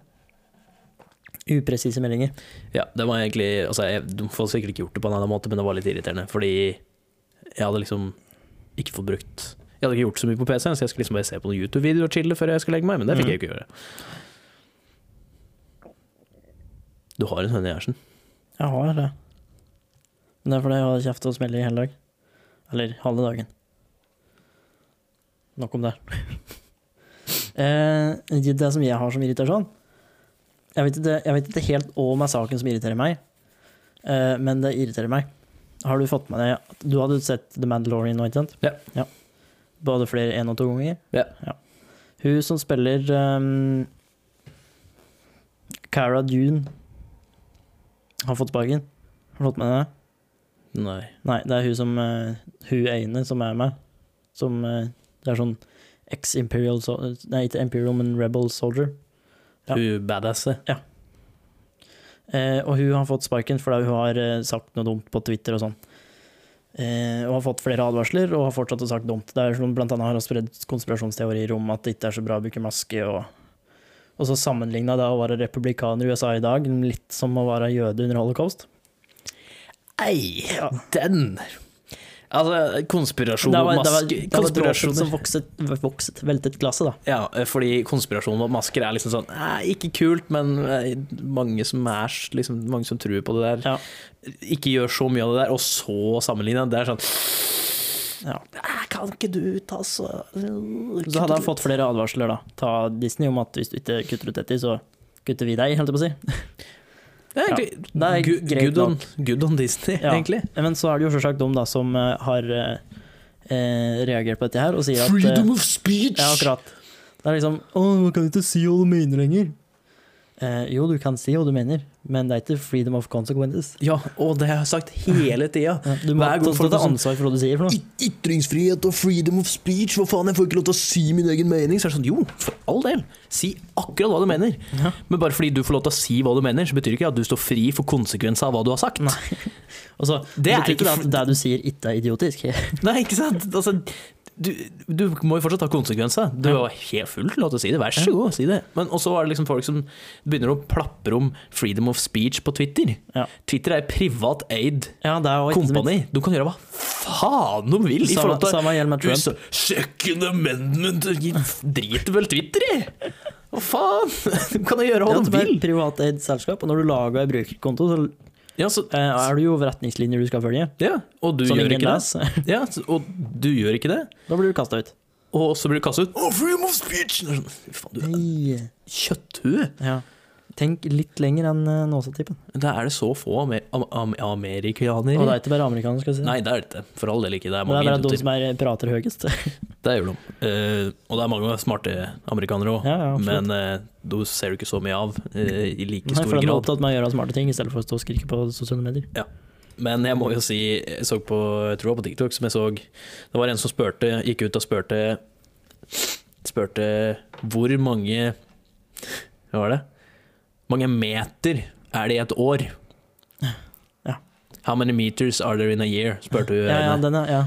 S2: Mm. Upresise meldinger.
S1: Ja, det var egentlig altså, jeg, Du får sikkert ikke gjort det på en annen måte, men det var litt irriterende. Fordi jeg hadde liksom ikke fått brukt Jeg hadde ikke gjort så mye på PC-en, så jeg skulle liksom bare se på noen YouTube-videoer og chille før jeg skulle legge meg, men det fikk jeg jo ikke gjøre. Du har en høne i hersen.
S2: Jeg har det. Men det er fordi jeg hadde kjeft og smelle i hele dag. Eller halve dagen. Nok om det. eh, det som jeg har som irritasjon Jeg vet ikke, jeg vet ikke helt hva med saken som irriterer meg, eh, men det irriterer meg. Har du fått med deg at Du hadde sett The Mandalorian nå, ikke sant?
S1: Ja.
S2: Både flere én og to ganger?
S1: Ja.
S2: Hun som spiller um, Cara Dune har fått sparken. Har du fått med deg det?
S1: Nei.
S2: Nei, det er hun som eh, Hun ene som er med. Som eh, Det er sånn ex-Imperial so Nei, ikke Imperial, men Rebel Soldier. Ja.
S1: Hun badasse.
S2: Eh, og hun har fått sparken fordi hun har eh, sagt noe dumt på Twitter og sånn. Eh, og har fått flere advarsler og har fortsatt å sagt dumt. Det er sånn, blant annet har hun spredd konspirasjonsteorier om at det ikke er så bra å bruke maske. Og, og så sammenligna det å være republikaner i USA i dag litt som å være jøde under holocaust.
S1: Ei,
S2: Ja.
S1: den! Altså, konspirasjon
S2: Det var,
S1: og
S2: det var,
S1: masker
S2: det var dråpen
S1: konspirasjoner.
S2: som vokset, vokset, veltet glasset, da.
S1: Ja, fordi konspirasjon mot masker er liksom sånn eh, Ikke kult, men eh, mange som er s- liksom, Mange som tror på det der.
S2: Ja.
S1: Ikke gjør så mye av det der, og så sammenligne. Det er sånn
S2: Ja.
S1: «Eh, Kan ikke du ta så
S2: Så hadde han fått flere advarsler da, ta Disney om at hvis du ikke kutter ut dette, så kutter vi deg, holdt jeg på å si.
S1: Det er egentlig
S2: Ja, det er
S1: gu-
S2: greit
S1: good, on, good on Disney,
S2: Ja.
S1: egentlig.
S2: Men så er det jo selvsagt de da som eh, har eh, eh, reagert på dette her og sier at eh,
S1: of speech!
S2: Ja, akkurat. Det er liksom Å, man kan ikke si hva du mener lenger. Eh, jo, du kan si hva du mener, men det er ikke freedom of consequences.
S1: Ja, og det har jeg sagt hele tida.
S2: Ja, du må
S1: Hver gang
S2: ta-
S1: folk
S2: stå til
S1: er sånn-
S2: ansvar for hva du sier. for noe.
S1: Ytringsfrihet og freedom of speech, hva faen, jeg får ikke lov til å si min egen mening. Så er det sånn, jo, for all del, si akkurat hva du mener.
S2: Ja.
S1: Men bare fordi du får lov til å si hva du mener, så betyr ikke at du står fri for konsekvenser av hva du har sagt. Nei,
S2: Og så
S1: Det er
S2: betyr
S1: ikke
S2: ikke det at det du sier, ikke er idiotisk.
S1: ikke sant? Altså, du, du må jo fortsatt ta konsekvenser. Du
S2: Ja.
S1: har helt fullt lov til å si det, vær så god, si det. Men også er det liksom folk som begynner å plapre om freedom of speech på Twitter.
S2: Ja.
S1: Twitter er privat eid
S2: Ja, det er jo ikke så mye-
S1: kompani. Du kan gjøre hva faen de vil. i
S2: Samme,
S1: forhold til...
S2: samme gjelder med Trump.
S1: USA- Second Amendment gi- Drit vel Twitter i! Hva faen? Du kan jo gjøre hva
S2: Ja,
S1: du
S2: det er
S1: vil.
S2: et privateid selskap, og når du lager ei brukerkonto, så
S1: Ja, så,
S2: eh, er det jo retningslinjer du skal følge.
S1: ja, og du
S2: som
S1: gjør
S2: ingen
S1: ikke det.
S2: leser.
S1: Ja, så- og du gjør ikke det.
S2: Da blir du kasta ut.
S1: Og så blir du kastet ut. Oh, freedom of speech! Det er sånn, Fy faen, du er
S2: Nei.
S1: kjøtthue!
S2: Ja. Tenk litt lenger enn eh, Nåsatippen.
S1: Da er det så få amer am am amerikanere.
S2: Og det er ikke bare amerikanere, skal jeg si.
S1: Nei, det er det ikke. For all del ikke. Det er
S2: Men det
S1: mange
S2: er bare de
S1: idioter.
S2: som er, eh, prater høyest.
S1: Det gjør de. Eh, og det er mange smarte amerikanere òg.
S2: Ja, ja, absolutt.
S1: men eh, de ser du ikke så mye av eh, i like
S2: Nei,
S1: stor
S2: for de er
S1: grad.
S2: opptatt med å gjøre smarte ting i stedet for å stå og skrike på sosiale medier.
S1: Men jeg må jo si, jeg så på, jeg tror det var på TikTok, som jeg så Det var en som spurte, gikk ut og spurte Spurte hvor mange Hva var det? Mange meter er det i et år?
S2: Ja.
S1: How many meters are there in a year? spurte hun
S2: Ja, ja,
S1: henne.
S2: den er, ja.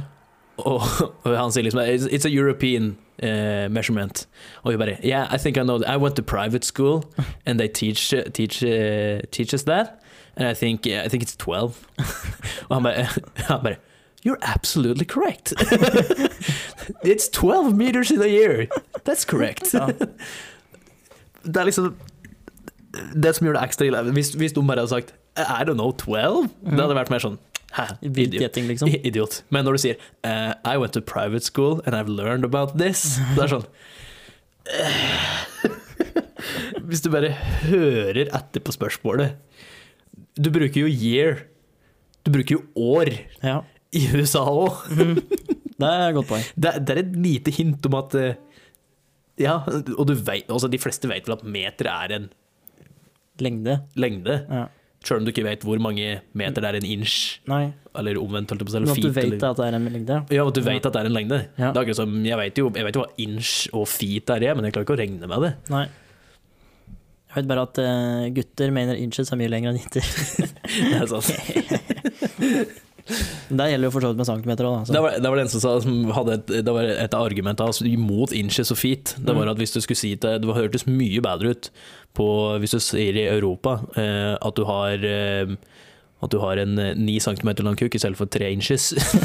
S1: Og, og han sier liksom It's, it's a European eh, measurement. Og hun bare Yeah, I think I know that. I went to private school, and they teach, teach, eh, teach us that. And I think, yeah, I think it's 12. og han bare, han bare You're absolutely correct. it's 12 meters in a year. That's correct.
S2: Ja.
S1: Det er liksom Det som gjør det ekstra ille, hvis, hvis de bare hadde sagt I don't know, 12? Det hadde vært mer sånn Hæ,
S2: Vilt
S1: idiot.
S2: gjetting, liksom.
S1: I- Idiot. Men når du sier eh, I went to private school and I've learned about this Det er sånn eh. Hvis du bare hører etter på spørsmålet Du bruker jo year. Du bruker jo år
S2: Ja.
S1: i USA òg.
S2: Mhm. Det er et godt poeng.
S1: Det, er- det er et lite hint om at eh, Ja, og du vet, altså de fleste vet vel at meter er en
S2: Lengde.
S1: lengde.
S2: Ja.
S1: Sjøl om du ikke vet hvor mange meter det er en inch,
S2: Nei,
S1: eller omvendt. holdt jeg på å si,
S2: men
S1: eller
S2: at du
S1: feet,
S2: vet
S1: eller-
S2: at det er en lengde.
S1: Ja, og du vet at det er en lengde.
S2: Ja.
S1: Det er akkurat som, jeg, vet jo, jeg vet jo hva inch og feet er, jeg, men jeg klarer ikke å regne med det.
S2: Nei. Jeg vet bare at eh, gutter mener inches er mye lenger enn jenter.
S1: Det, er sånn. sant.
S2: Men Det gjelder jo for så vidt med centimeter òg,
S1: det,
S2: da.
S1: var, det var det en som sa som hadde et, det var et av argumentene altså, imot inches og feet. Det var
S2: Mm.
S1: at hvis du skulle si til Det hørtes mye bedre ut på, hvis du sier i Europa eh, at du har eh, at du har en eh, ni centimeter lang kuk i stedet for tre inches.
S2: Så,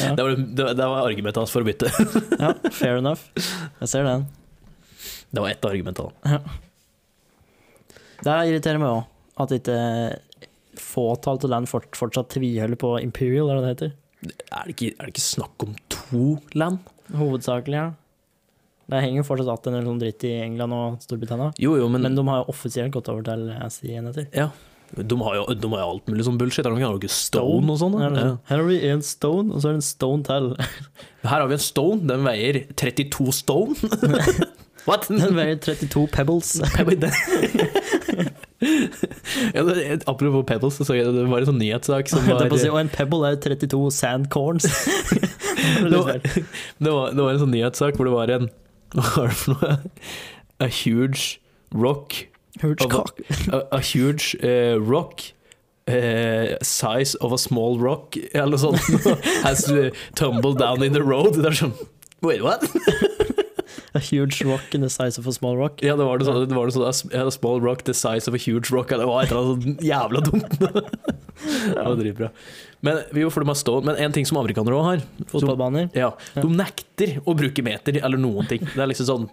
S2: ja.
S1: Det var, det, det var argumentet hans for å bytte.
S2: ja, fair enough. Jeg ser den.
S1: Det var ett argument. da.
S2: Det irriterer meg òg, at ikke fåtall av land fort, fortsatt tviholder på Imperial, er det det heter?
S1: Er det ikke, er det ikke snakk om to land?
S2: Hovedsakelig, ja. Det henger jo fortsatt igjen en sånn dritt i England og Storbritannia.
S1: Jo, jo, men,
S2: Men, de har jo offisielt gått over til eh, SI-enheter.
S1: Ja. De har, jo, de har jo alt mulig sånn bullshit. Har de ikke- har de ikke Stone og sånn?
S2: Her
S1: da?
S2: er det sånn, Her har vi en stone, og så er det en stone til.
S1: Ja. Her har vi en Stone. Den veier 32 stone. What?
S2: Den veier 32 pebbles.
S1: Jeg vet det. ja, det, apropos Pebbles, så så jeg det var en sånn nyhetssak som var eh,
S2: Det er på å si, og en pebble er 32 sandcorns.
S1: det, var, det, var, det var en sånn nyhetssak hvor det var en Hva var det for noe? A huge rock
S2: Hurts
S1: Og hva-
S2: cock.
S1: A, a huge eh, rock eh, size of a small rock eller noe sånt has eh, tumbled down in the road. Det er sånn Wait, what?
S2: A huge rock in the size of a small rock.
S1: Ja, det var det sånn, det var det sånn a s- a small rock the size of a huge rock. eller Det var et eller annet sånn jævla dumt. Det var dritbra. Men jo, for de har stått, men en ting som amerikanere òg har som,
S2: Fotballbaner.
S1: ja,
S2: Ja.
S1: De nekter å bruke meter eller noen ting. Det er liksom sånn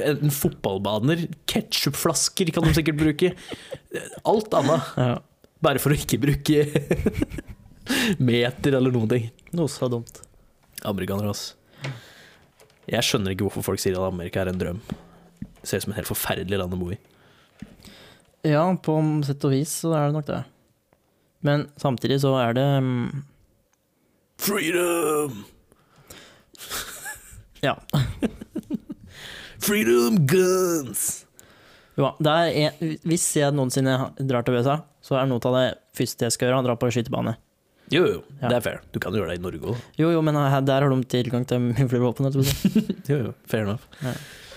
S1: en fotballbaner, ketsjupflasker kan de sikkert bruke. Alt annet.
S2: Ja.
S1: Bare for å ikke bruke meter eller noen ting.
S2: Noe så dumt.
S1: Amerikanere, altså. Jeg skjønner ikke hvorfor folk sier at Amerika er en drøm. Det ser ut som et helt forferdelig land å bo i.
S2: Ja, på sett og vis så er det nok det. Men samtidig så er det mm,
S1: Freedom!
S2: Ja.
S1: Freedom guns!
S2: Jo, det er en, hvis jeg noensinne drar til USA, så er noe av det første jeg skal gjøre, å dra på skytebane.
S1: Jo, jo,
S2: Ja.
S1: det er fair. Du kan jo gjøre det i Norge òg.
S2: Jo, jo, men her, der har de tilgang til mye flere våpen. holdt jeg på å si.
S1: Jo, jo, fair enough.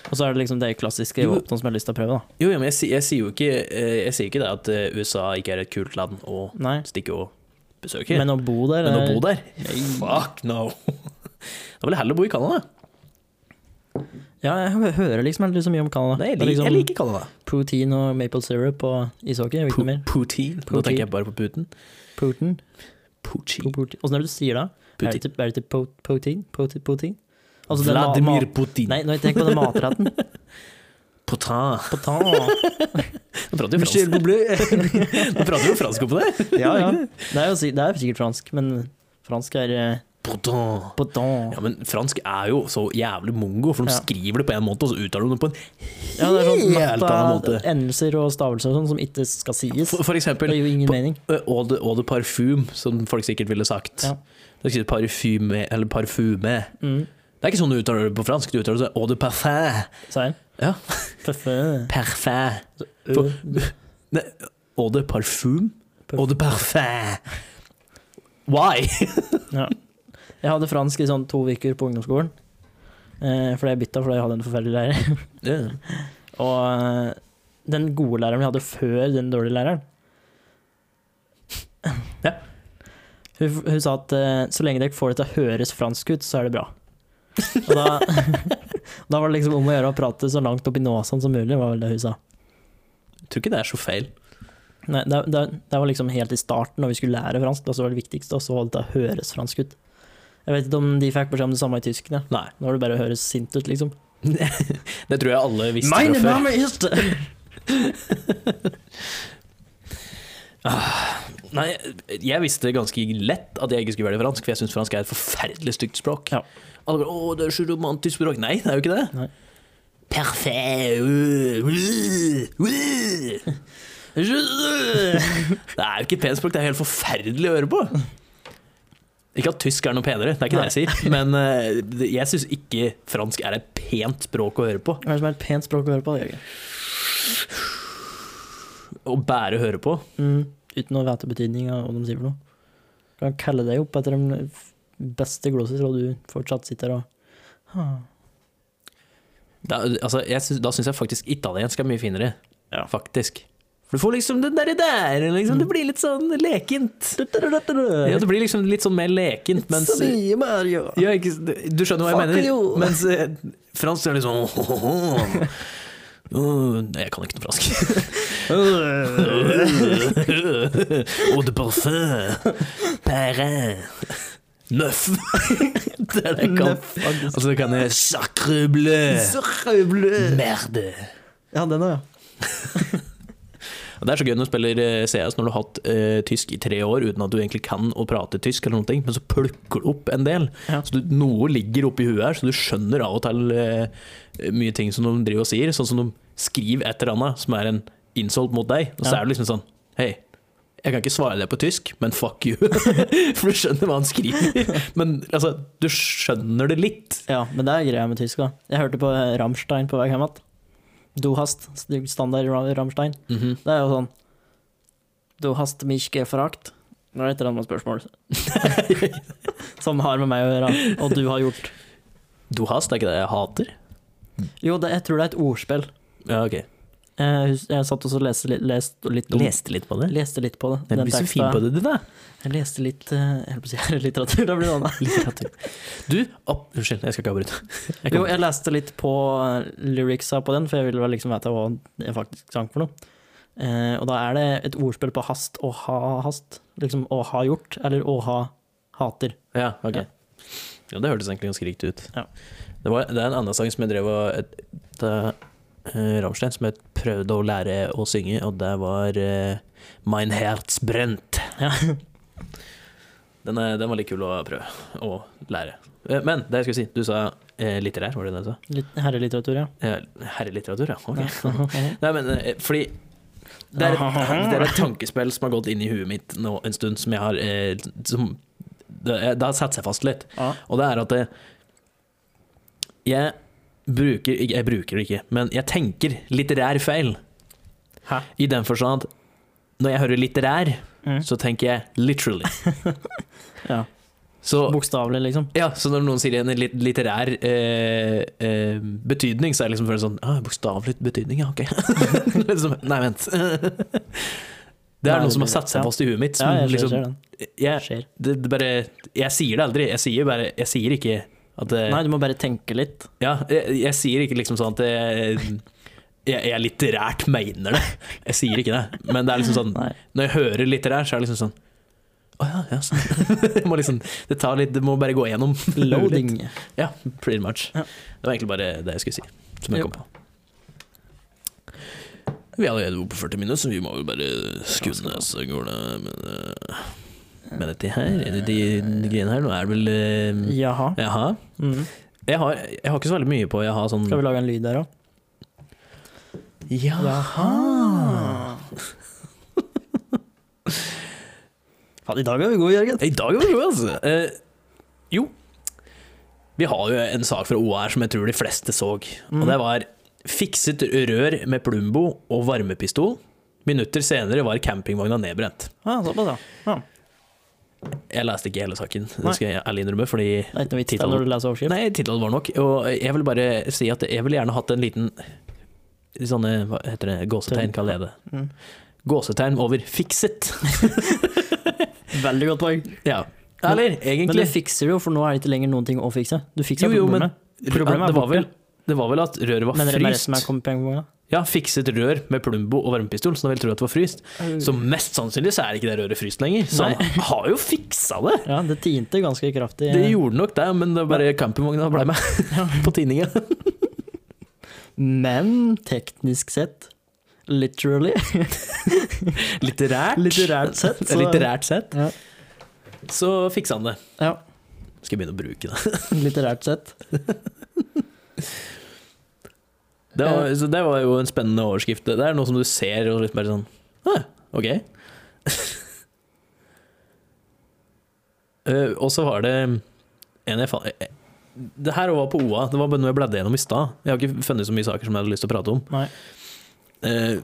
S2: Og så er det liksom de klassiske
S1: Jo.
S2: våpnene som jeg har lyst til å prøve. da.
S1: Jo, ja, men jeg, si- jeg sier jo ikke, eh, jeg sier ikke det at eh, USA ikke er et kult land å
S2: Nei.
S1: stikke og besøke. Men,
S2: Men å bo der
S1: å
S2: er-
S1: bo der? Fuck no! Da vil jeg heller bo i Canada.
S2: Ja, jeg hø- hører liksom aldri så mye om Canada.
S1: Nei, jeg,
S2: Det er
S1: lik,
S2: liksom
S1: jeg liker Canada.
S2: Poutine og maple syrup og ishockey. og Ikke noe mer.
S1: Putin. Nå
S2: Poutine.
S1: tenker jeg bare på Putin.
S2: Putin.
S1: Putin.
S2: Åssen er det du sier det? Er det til, er det til po poutine? Poutine? poutine? Altså, den ma-
S1: Vladimir
S2: mat-
S1: Putin.
S2: Nei, nå tenker jeg på den matretten.
S1: Potin.
S2: Potin.
S1: Nå prater jo fransk. Nå prater jo fransk oppå det.
S2: ja, ja. Det er jo si- det er sikkert fransk, men fransk er eh,
S1: Potin.
S2: potin.
S1: Ja, men fransk er jo så jævlig mongo, for de
S2: Ja.
S1: skriver det på en måte, og så uttaler de det på en
S2: Ja, det er sånn
S1: helt annen
S2: matte,
S1: måte.
S2: endelser og stavelser og sånn som ikke skal sies.
S1: For, for
S2: Det
S1: eksempel
S2: gir jo ingen
S1: på-
S2: mening.
S1: ø, eau de, eau de parfum, som folk sikkert ville sagt.
S2: Ja.
S1: Det er ikke parfume, eller parfume.
S2: Mm.
S1: Det er ikke sånn du uttaler det på fransk. Du uttaler det sånn eau de parfum.
S2: Sa jeg?
S1: Ja.
S2: Parfum.
S1: Parfum.
S2: Ø,
S1: Eau de parfum.
S2: Parfum.
S1: Eau de parfum. Why?
S2: Jeg hadde fransk i sånn to uker på ungdomsskolen. Eh, fordi jeg bytta fordi jeg hadde en forferdelig lærer. Og eh, den gode læreren vi hadde før den dårlige læreren
S1: Ja.
S2: Hun, hun sa at eh, så lenge dere får det til å høres fransk ut, så er det bra. Og da, da var det liksom om å gjøre å prate så langt oppi nåsene som mulig, var vel det hun sa.
S1: Jeg tror ikke det er så feil.
S2: Nei, det, det, det var liksom helt i starten, når vi skulle lære fransk, da så var det viktigste, og så var det til å høres fransk ut. Jeg vet ikke om de fikk beskjed om det samme i tysk, da.
S1: Nei.
S2: Nå var det bare å høres sint ut, liksom.
S1: Det tror jeg alle visste fra før.
S2: is
S1: Nei, jeg visste ganske lett at jeg ikke skulle velge fransk, for jeg syns fransk er et forferdelig stygt språk.
S2: Ja.
S1: Alle bare 'Å, det er så romantisk språk'. Nei, det er jo ikke det.
S2: Nei.
S1: Perfekt. Uh, uh, uh. Det er jo ikke et pent språk, det er helt forferdelig å høre på. Ikke at tysk er noe penere, det er ikke det jeg sier, men eh, det- jeg syns ikke fransk er et pent språk å høre på.
S2: Hva er det som er et pent språk å høre på? Jørgen?
S1: Å bære høre på.
S2: Mm, uten å vite betydninga av hva de sier for noe. Kan kalle deg opp etter de f- beste gloser, og du fortsatt sitter og ah.
S1: Da, altså, jeg syns- da syns jeg faktisk italiensk er mye finere.
S2: Ja.
S1: Faktisk. For du får liksom den derre der, liksom, det blir litt sånn lekent. Ja, det blir liksom litt sånn mer lekent, mens
S2: Sabie Mario.
S1: ja, ikke, Du skjønner hva jeg
S2: Fuck
S1: mener?
S2: you.
S1: Mens eh, fransk er litt sånn Uh, nei, jeg kan ikke noe fransk. Eau de parfum. Perrin. Neuf. Det er det jeg kan.
S2: Nøff, faktisk.
S1: Og så kan jeg Sacre bleu. Merde.
S2: Ja, den òg, ja.
S1: Og Det er så gøy når du spiller eh, CS når du har hatt eh, tysk i tre år uten at du egentlig kan å prate tysk, eller noen ting, men så plukker du opp en del.
S2: Ja.
S1: Så du, Noe ligger oppi huet her, så du skjønner av og til eh, mye ting som de driver og sier. Sånn som de skriver et eller annet som er en insult mot deg, og så
S2: Ja.
S1: er du liksom sånn Hei, jeg kan ikke svare deg på tysk, men fuck you. For du skjønner hva han skriver. Men altså, du skjønner det litt.
S2: Ja, men det er greia med tysk, da. Jeg hørte på eh, Rammstein på vei hjem igjen. Du hast, standard Ra- Rammstein.
S1: Mhm.
S2: Det er jo sånn Du hast mich gefragt. Det er et eller annet spørsmål som har med meg å gjøre, og du har gjort.
S1: Du hast, er ikke det jeg hater?
S2: Jo, det, jeg tror det er et ordspill.
S1: Ja, ok.
S2: Jeg, hus- jeg satt også og leste, litt- lest, litt om
S1: Leste litt på det.
S2: Leste litt på det.
S1: Nei, Du
S2: den
S1: blir så
S2: teksta.
S1: fin på det, du, da.
S2: Jeg leste litt eh, Jeg holdt på å si herrelitteratur, da blir det noe annet.
S1: Litteratur. Du opp, Unnskyld, jeg skal ikke avbryte. Jeg
S2: Jo,
S1: kom-
S2: jeg leste litt på eh, lyricsa på den, for jeg ville vel liksom vite hva det faktisk sang for noe. Eh, og da er det et ordspill på hast og ha hast. Liksom å ha gjort, eller å ha hater.
S1: ja, ok.
S2: Ja.
S1: Ja, det hørtes egentlig ganske riktig ut.
S2: Ja.
S1: Det, var, det er en annen sang som jeg drev og et, et, eh, Rammstein, som jeg prøvde å lære å synge, og det var eh, Mein Herz brennt.
S2: Ja.
S1: Den, er, den var litt kul å prøve å lære. Eh, Men det jeg skulle si, du sa eh, litterær, var det det du sa?
S2: Litt herrelitteratur, ja.
S1: Eh, herrelitteratur, ja. Ok.
S2: Ja.
S1: Nei, men eh, fordi det er, et, det er et tankespill som har gått inn i huet mitt nå en stund, som jeg har eh, som, det, det har satt seg fast litt.
S2: Ja.
S1: Og det er at det, Jeg bruker ikke- Jeg bruker det ikke, men jeg tenker litterær feil.
S2: Hæ? Mm.
S1: I den forstand at når jeg hører litterær, så tenker jeg literally.
S2: Ja.
S1: Så
S2: Bokstavelig, liksom.
S1: Ja, så når noen sier en lit- litterær eh, eh, betydning, så er det liksom føles sånn ah, Bokstavelig betydning, ja, ok. liksom, nei, vent. Det
S2: Nei,
S1: er noe som
S2: det-
S1: har satt
S2: ja.
S1: seg fast i huet mitt.
S2: Ja,
S1: Som
S2: jeg ser,
S1: liksom,
S2: ser den.
S1: jeg,
S2: Skjer.
S1: det, det bare, jeg sier det aldri. Jeg sier bare Jeg sier ikke at det,
S2: Nei, du må bare tenke litt.
S1: Ja, jeg, jeg sier ikke liksom sånn at jeg, jeg, jeg litterært mener det. Jeg sier ikke det. Men det er liksom sånn
S2: Nei.
S1: når jeg hører litterær, så er det liksom sånn Å ja, ja, sånn. Jeg må liksom, det tar litt, det må bare gå gjennom.
S2: Loading.
S1: Ja, pretty much.
S2: Ja.
S1: Det var egentlig bare det jeg skulle si. Som jeg
S2: Jo.
S1: kom på. Vi er allerede oppe på 40 minutter, så vi må vel bare skune
S2: Ja,
S1: ned, så går det med, det- med dette her. De,
S2: Eh,
S1: de, de greiene her. Nå er det vel eh,
S2: Jaha.
S1: Jaha.
S2: Mm.
S1: Jeg har, jeg har ikke så veldig mye på Jeg har sånn
S2: Skal vi lage en lyd der òg?
S1: Jaha.
S2: Faen, i dag er vi gode, Jørgen.
S1: I dag var det gode, altså. Eh, jo. Vi har jo en sak fra OR som jeg tror de fleste så.
S2: Mm.
S1: Og det var fikset rør med Plumbo og varmepistol. Minutter senere var campingvogna nedbrent.
S2: Ja, såpass, ja. ja.
S1: Jeg leste ikke hele saken,
S2: Nei.
S1: det skal jeg ærlig innrømme. Fordi
S2: Det er ikke noe vits
S1: Tittelen.
S2: der når du leser overskrift.
S1: Nei, tittelen var nok. Og jeg vil bare si at jeg ville gjerne hatt en liten Sånne, hva heter det, gåsetegn, kaller jeg det.
S2: Mm.
S1: Gåsetegn over 'fikset'.
S2: Veldig godt poeng.
S1: Ja. Eller
S2: Men det
S1: egentlig
S2: fikser du jo, for nå er det ikke lenger noen ting å fikse. Du fikser
S1: Jo, jo, men-
S2: problemet. problemet er
S1: det, var
S2: borte.
S1: vel, det var vel at røret var
S2: Men det er bare
S1: fryst.
S2: resten er kommet på en gang.
S1: Ja, fikset rør med plumbo og varmepistol, så nå vil jeg tro at det var fryst. Så mest sannsynlig så er ikke det røret fryst lenger. Så
S2: Nei.
S1: han har jo fiksa det!
S2: Ja, det tinte ganske kraftig.
S1: Det gjorde nok det, men det er bare campingvogna ble med på tinninga.
S2: Men teknisk sett, literally
S1: Litterært.
S2: Litterært sett, så-
S1: Litterært sett.
S2: Ja.
S1: Så fiksa han det.
S2: Ja.
S1: Skal jeg begynne å bruke det.
S2: Litterært sett.
S1: Det var, så det var jo en spennende overskrift. Det er noe som du ser og liksom bare sånn ah, OK. Eh, og så var det en jeg fant eh, Det her var på OA. Det var bare noe jeg bladde gjennom i stad. Jeg har ikke funnet så mye saker som jeg hadde lyst til å prate om.
S2: Nei.
S1: Eh,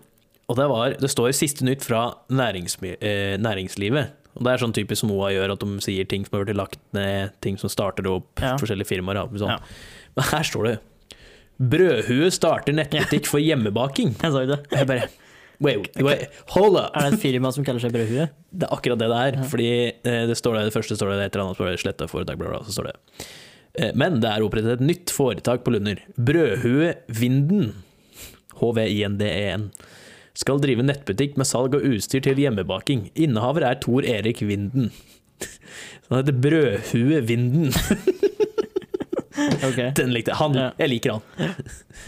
S1: og det var Det står 'siste nytt fra næringsmi- eh, næringslivet'. Og Det er sånn typisk som OA gjør, at de sier ting som har blitt lagt ned, ting som starter opp,
S2: Ja.
S1: forskjellige firmaer. ja, Sånn.
S2: Ja.
S1: Men her står det 'Brødhue starter nettbutikk for hjemmebaking'.
S2: Jeg sa jo det.
S1: Og Jeg bare Wait, wait, hold up!
S2: Er det et firma som kaller seg Brødhue?
S1: Det er akkurat det det er.
S2: Ja.
S1: Fordi eh, det står der, det første står det et eller annet, så står det sletta foretak, bla, bla, så står det Eh, Men det er opprettet et nytt foretak på Lunder. Brødhue Vinden, HVINDEN, E skal drive nettbutikk med salg og utstyr til hjemmebaking. Innehaver er Tor Erik Vinden. Så han heter Brødhue Vinden.
S2: Ok.
S1: Den likte jeg. Han,
S2: Ja.
S1: jeg liker han.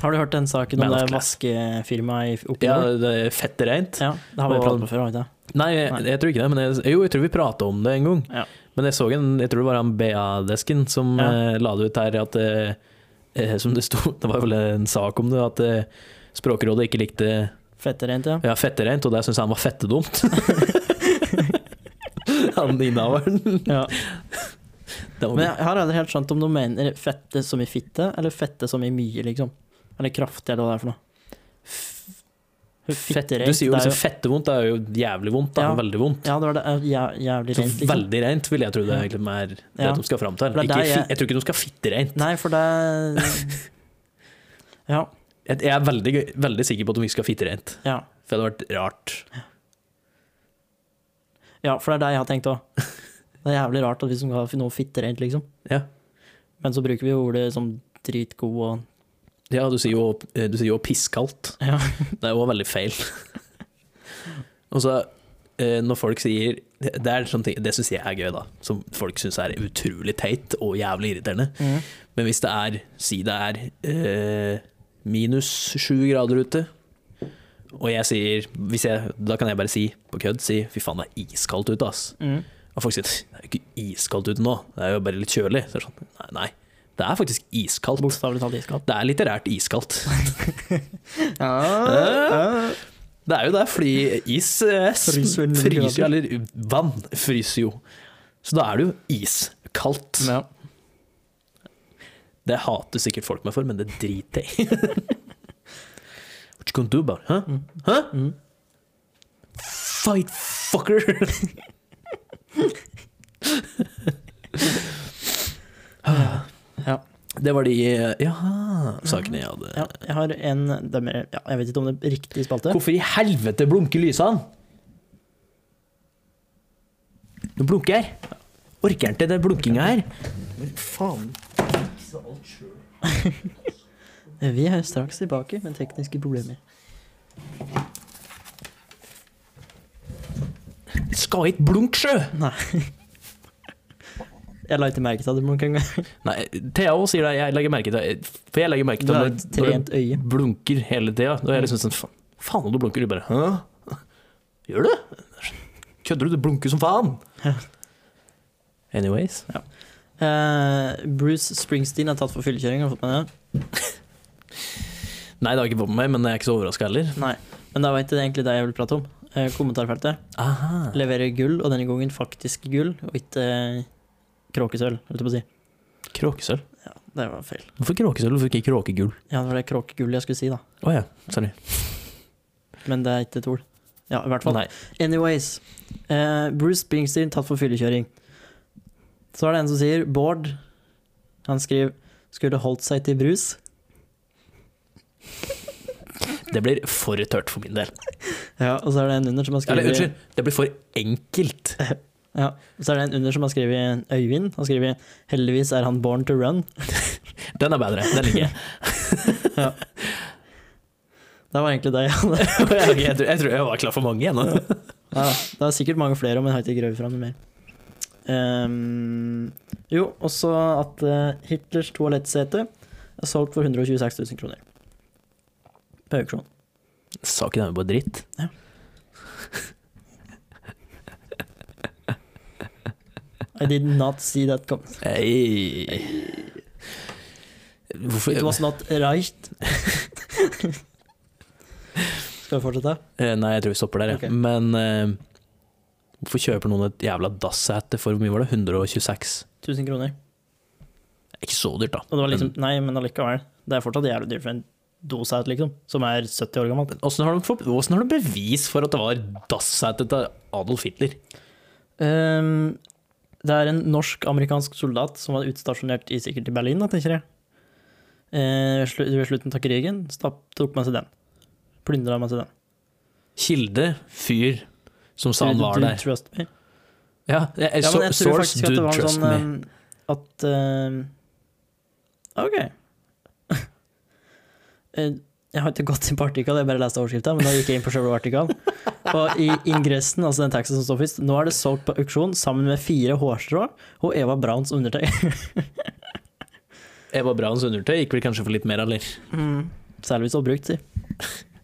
S2: Har du hørt den saken
S1: Man
S2: om
S1: of
S2: det
S1: class.
S2: vaskefirmaet i- oppe i
S1: Ja,
S2: nord?
S1: det er fett reint.
S2: Ja, det har vi
S1: Og-
S2: pratet på før, har vi ikke det?
S1: Nei, jeg,
S2: Nei.
S1: jeg tror ikke det. Men jeg, jo, jeg tror vi prata om det en gang.
S2: Ja.
S1: Men jeg så en, jeg tror det var han BA-desken som
S2: Ja.
S1: eh, la det ut her at eh, eh, Som det sto, det var vel en sak om det, at eh, Språkrådet ikke likte
S2: Fetterent, ja.
S1: ja, fettereint, og det syntes han var fettedumt. han innehaveren.
S2: ja.
S1: Det var
S2: Men jeg har aldri helt skjønt om de mener fette som i fitte, eller fette som i mye, liksom. Eller kraftig, eller hva det er for noe.
S1: fett,
S2: Fetterent,
S1: du sier jo
S2: det er
S1: liksom fettevondt, det er jo jævlig vondt, da.
S2: Ja.
S1: Veldig vondt.
S2: Ja, det var det. eh, jæ- Jævlig
S1: Så
S2: rent, liksom.
S1: veldig reint vil jeg tro det er egentlig mer det
S2: Ja.
S1: de skal fram til.
S2: For det er
S1: Ikke,
S2: der
S1: fi-
S2: jeg-
S1: jeg tror ikke de skal fittereint.
S2: Nei, for det Ja.
S1: Jeg jeg er veldig, veldig sikker på at de ikke skal fittereint,
S2: Ja.
S1: for det hadde vært rart.
S2: Ja, for det er det jeg har tenkt òg. Det er jævlig rart at vi som har noe fitterent, liksom.
S1: Ja.
S2: Men så bruker vi jo ordet som dritgod og
S1: Ja, du sier jo, du sier jo pisskaldt.
S2: Ja.
S1: Det er jo veldig feil. Og så eh, når folk sier Det er sånne ting, det syns jeg er gøy, da. Som folk syns er utrolig teit og jævlig irriterende. Men hvis det er Si det er eh, minus sju grader ute, og jeg sier hvis jeg, Da kan jeg bare si på kødd si, Fy faen, det er iskaldt ute, ass.
S2: Mm.
S1: Og folk sier det er jo ikke iskaldt ute nå, det er jo bare litt kjølig. Så er det sånn, nei, nei, det er faktisk iskaldt.
S2: Bokstavelig talt iskaldt.
S1: Det er litterært iskaldt.
S2: Ja.
S1: Det er jo det, fordi is eh, s-
S2: Fryser vel
S1: fryser
S2: grader.
S1: jo, eller vann fryser jo. Så da er det jo iskaldt.
S2: Ja.
S1: Det hater sikkert folk meg for, men det driter jeg i. What you gonna do about it, huh? Huh?
S2: Mm.
S1: Fight, fucker!
S2: Ja.
S1: Det var de eh, jaha, sakene jeg hadde.
S2: ja. Jeg har en det er mer, ja, Jeg vet ikke om det er riktig spalte.
S1: Hvorfor i helvete blunker lysene? Nå blunker jeg. Orker han til den blunkinga her?
S2: Faen. Vi er straks tilbake med tekniske problemer.
S1: Det skal ikke blunke, sjø!
S2: Nei. Jeg la ikke merke til at det blunka engang.
S1: Nei, Thea også sier det. Jeg legger merke til det. For jeg legger merke
S2: Du
S1: til
S2: har
S1: når,
S2: et
S1: når
S2: trent øye.
S1: det blunker hele tida. Da er jeg liksom sånn "Fa- Faen, og du blunker. Du bare Hæ? Gjør du? Kødder du? Du blunker som faen! Anyways.
S2: Eh, Bruce Springsteen er tatt for fyllekjøring. Har du fått med det?
S1: Nei, det har jeg ikke fått med meg, men jeg er ikke så overraska heller.
S2: Nei. Men da var ikke det egentlig det jeg ville prate om. Eh, kommentarfeltet.
S1: Aha.
S2: Leverer gull, og denne gangen faktisk gull, og ikke eh, kråkesølv, holdt jeg på å si.
S1: Kråkesølv.
S2: Ja, det var feil.
S1: Hvorfor kråkesølv? Hvorfor ikke kråkegull?
S2: Ja, det var det kråkegullet jeg skulle si, da.
S1: Å ja, sorry.
S2: Men det er ikke et ord. Ja, i hvert fall.
S1: Nei.
S2: Anyways. eh, Bruce Springsteen tatt for fyllekjøring. Så er det en som sier Bård. Han skriver 'skulle holdt seg til brus'.
S1: Det blir for tørt for min del.
S2: Ja, og så er det en under som har
S1: Eller
S2: skrevet
S1: unnskyld, det blir for enkelt.
S2: Ja, og så er det en under som har skrevet Øyvind. Han skriver 'Heldigvis er han born to run'.
S1: Den er bedre. Den liker jeg.
S2: Det var egentlig det jeg hadde.
S1: Jeg, tror- jeg, tror- jeg tror jeg var klar for mange igjen. nå.
S2: Ja, det er sikkert mange flere, men jeg har ikke grøvet fram noe mer. Ehm, jo, også at eh, Hitlers toalettsete er solgt for 126 000 kroner. På auksjon.
S1: Saken er jo bare dritt.
S2: Ja. I did not see that come.
S1: Ei.
S2: It
S1: Hvorfor
S2: was not right. Skal vi fortsette?
S1: Eh, Nei, jeg tror vi stopper der, jeg.
S2: Ok.
S1: Men eh, hvorfor kjøper noen et jævla dassete for hvor mye var det? 126?
S2: 1000 kroner.
S1: Det er Ikke så dyrt, da.
S2: Og det var liksom, nei, men allikevel. Det er fortsatt jævlig dyrt for en doseout, liksom, som er 70 år gammel.
S1: Men Åssen har, de fått- hvordan har de bevis for at det var dassete til Adolf Hitler?
S2: Ehm, det er en norsk-amerikansk soldat som var utstasjonert i sikkert i Berlin, da, tenker jeg. Eh, slu- ved slutten av krigen stapp, tok man seg den. Plyndra man seg den.
S1: Kilde, fyr, som sa han var
S2: Do you
S1: der.
S2: Trust me.
S1: Ja, jeg,
S2: Ja,
S1: so,
S2: men jeg tror
S1: source,
S2: faktisk at
S1: dude,
S2: det var
S1: trust
S2: sånn
S1: me.
S2: ehm, at ehm, OK. Eh, Jeg har ikke gått inn på artikkelen, jeg bare leste overskriften, men da gikk jeg inn på selve artikkelen. Og i ingressen, altså den teksten som står først, nå er det solgt på auksjon sammen med fire hårstrå og Eva Browns undertøy.
S1: Eva Brauns sånn undertøy gikk vel kanskje for litt mer, eller? Mm.
S2: Særlig hvis det var brukt, si.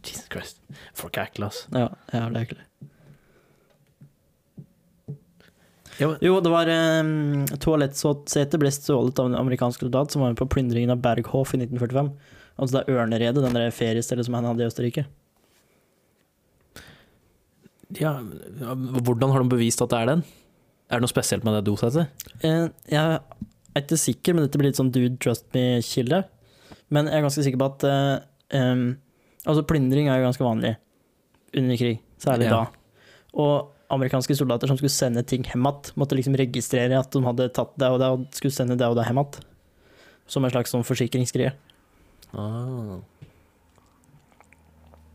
S1: Jesus Christ. Folk er ekle, ass.
S2: Ja, ja, det er ikke det.
S1: Ja, men-
S2: Jo, det var um, Toalettsete ble stjålet av en amerikansk soldat som var med på plyndringen av Berghof i 1945. Altså det er Ørneredet, den der feriestedet som han hadde i Østerrike.
S1: Ja, ja, hvordan har de bevist at det er den? Er det noe spesielt med det dosetet?
S2: Eh, jeg er ikke sikker, men dette blir litt sånn dude trust me-kilde. Men jeg er ganske sikker på at eh, em, Altså, plyndring er jo ganske vanlig under krig, særlig
S1: Ja.
S2: da. Og amerikanske soldater som skulle sende ting hjem igjen, måtte liksom registrere at de hadde tatt det og det, og skulle sende det og det hjem igjen. Som en slags sånn forsikringsgreie.
S1: Ah.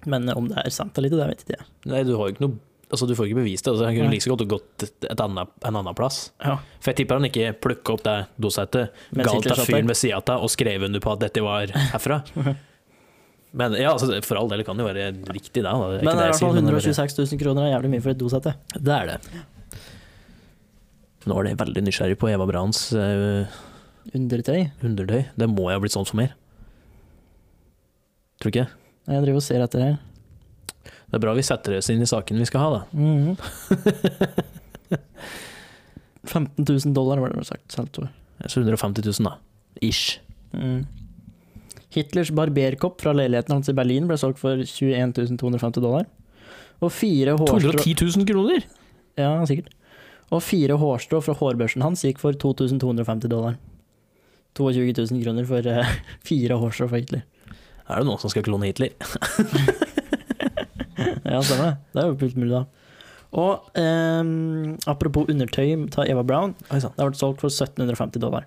S2: Men eh, om det er sant eller ikke, det vet ikke jeg.
S1: Nei, du har jo ikke noe Altså, du får ikke bevist det. Altså, jeg kunne
S2: Nei.
S1: like så godt gått et et annet, en annen plass.
S2: Ja.
S1: For jeg tipper han ikke plukka opp det dosetet,
S2: Mens
S1: ga det
S2: Hitler
S1: til
S2: satt
S1: fyren
S2: der.
S1: ved sida av deg og skrev under på at dette var herfra. Men ja, altså, for all del kan det jo være riktig, det. da. Det er
S2: Men
S1: ikke
S2: det
S1: jeg
S2: er i hvert
S1: sier,
S2: fall
S1: men det er bare-
S2: 126 000 kroner er jævlig mye for et dosette.
S1: Det er det. Nå er det veldig nysgjerrig på Eva Brahns eh,
S2: Undertøy.
S1: undertøy. Det må jeg ha blitt sånn for mer. Tror ikke jeg.
S2: Jeg driver og ser etter her.
S1: Det er bra vi setter oss inn i saken vi skal ha, da.
S2: Mhm. 15 000 dollar var det vel sagt. Selv tror jeg.
S1: Så 150 000, da. Ish.
S2: Mm. Hitlers barberkopp fra leiligheten hans i Berlin ble solgt for 21 250 dollar. Og fire hårstrå
S1: 210 000 kroner!
S2: ja, sikkert. Og fire hårstrå fra hårbørsten hans gikk for 2250 dollar. 22 000 kroner for eh, fire årsstraff, egentlig.
S1: Er det noen som skal klone Hitler?
S2: Ja, stemmer det. Det er jo fullt mulig, da. Og ehm, apropos undertøy til Eva Brown,
S1: Oi sann.
S2: det har vært solgt for 1750 dollar.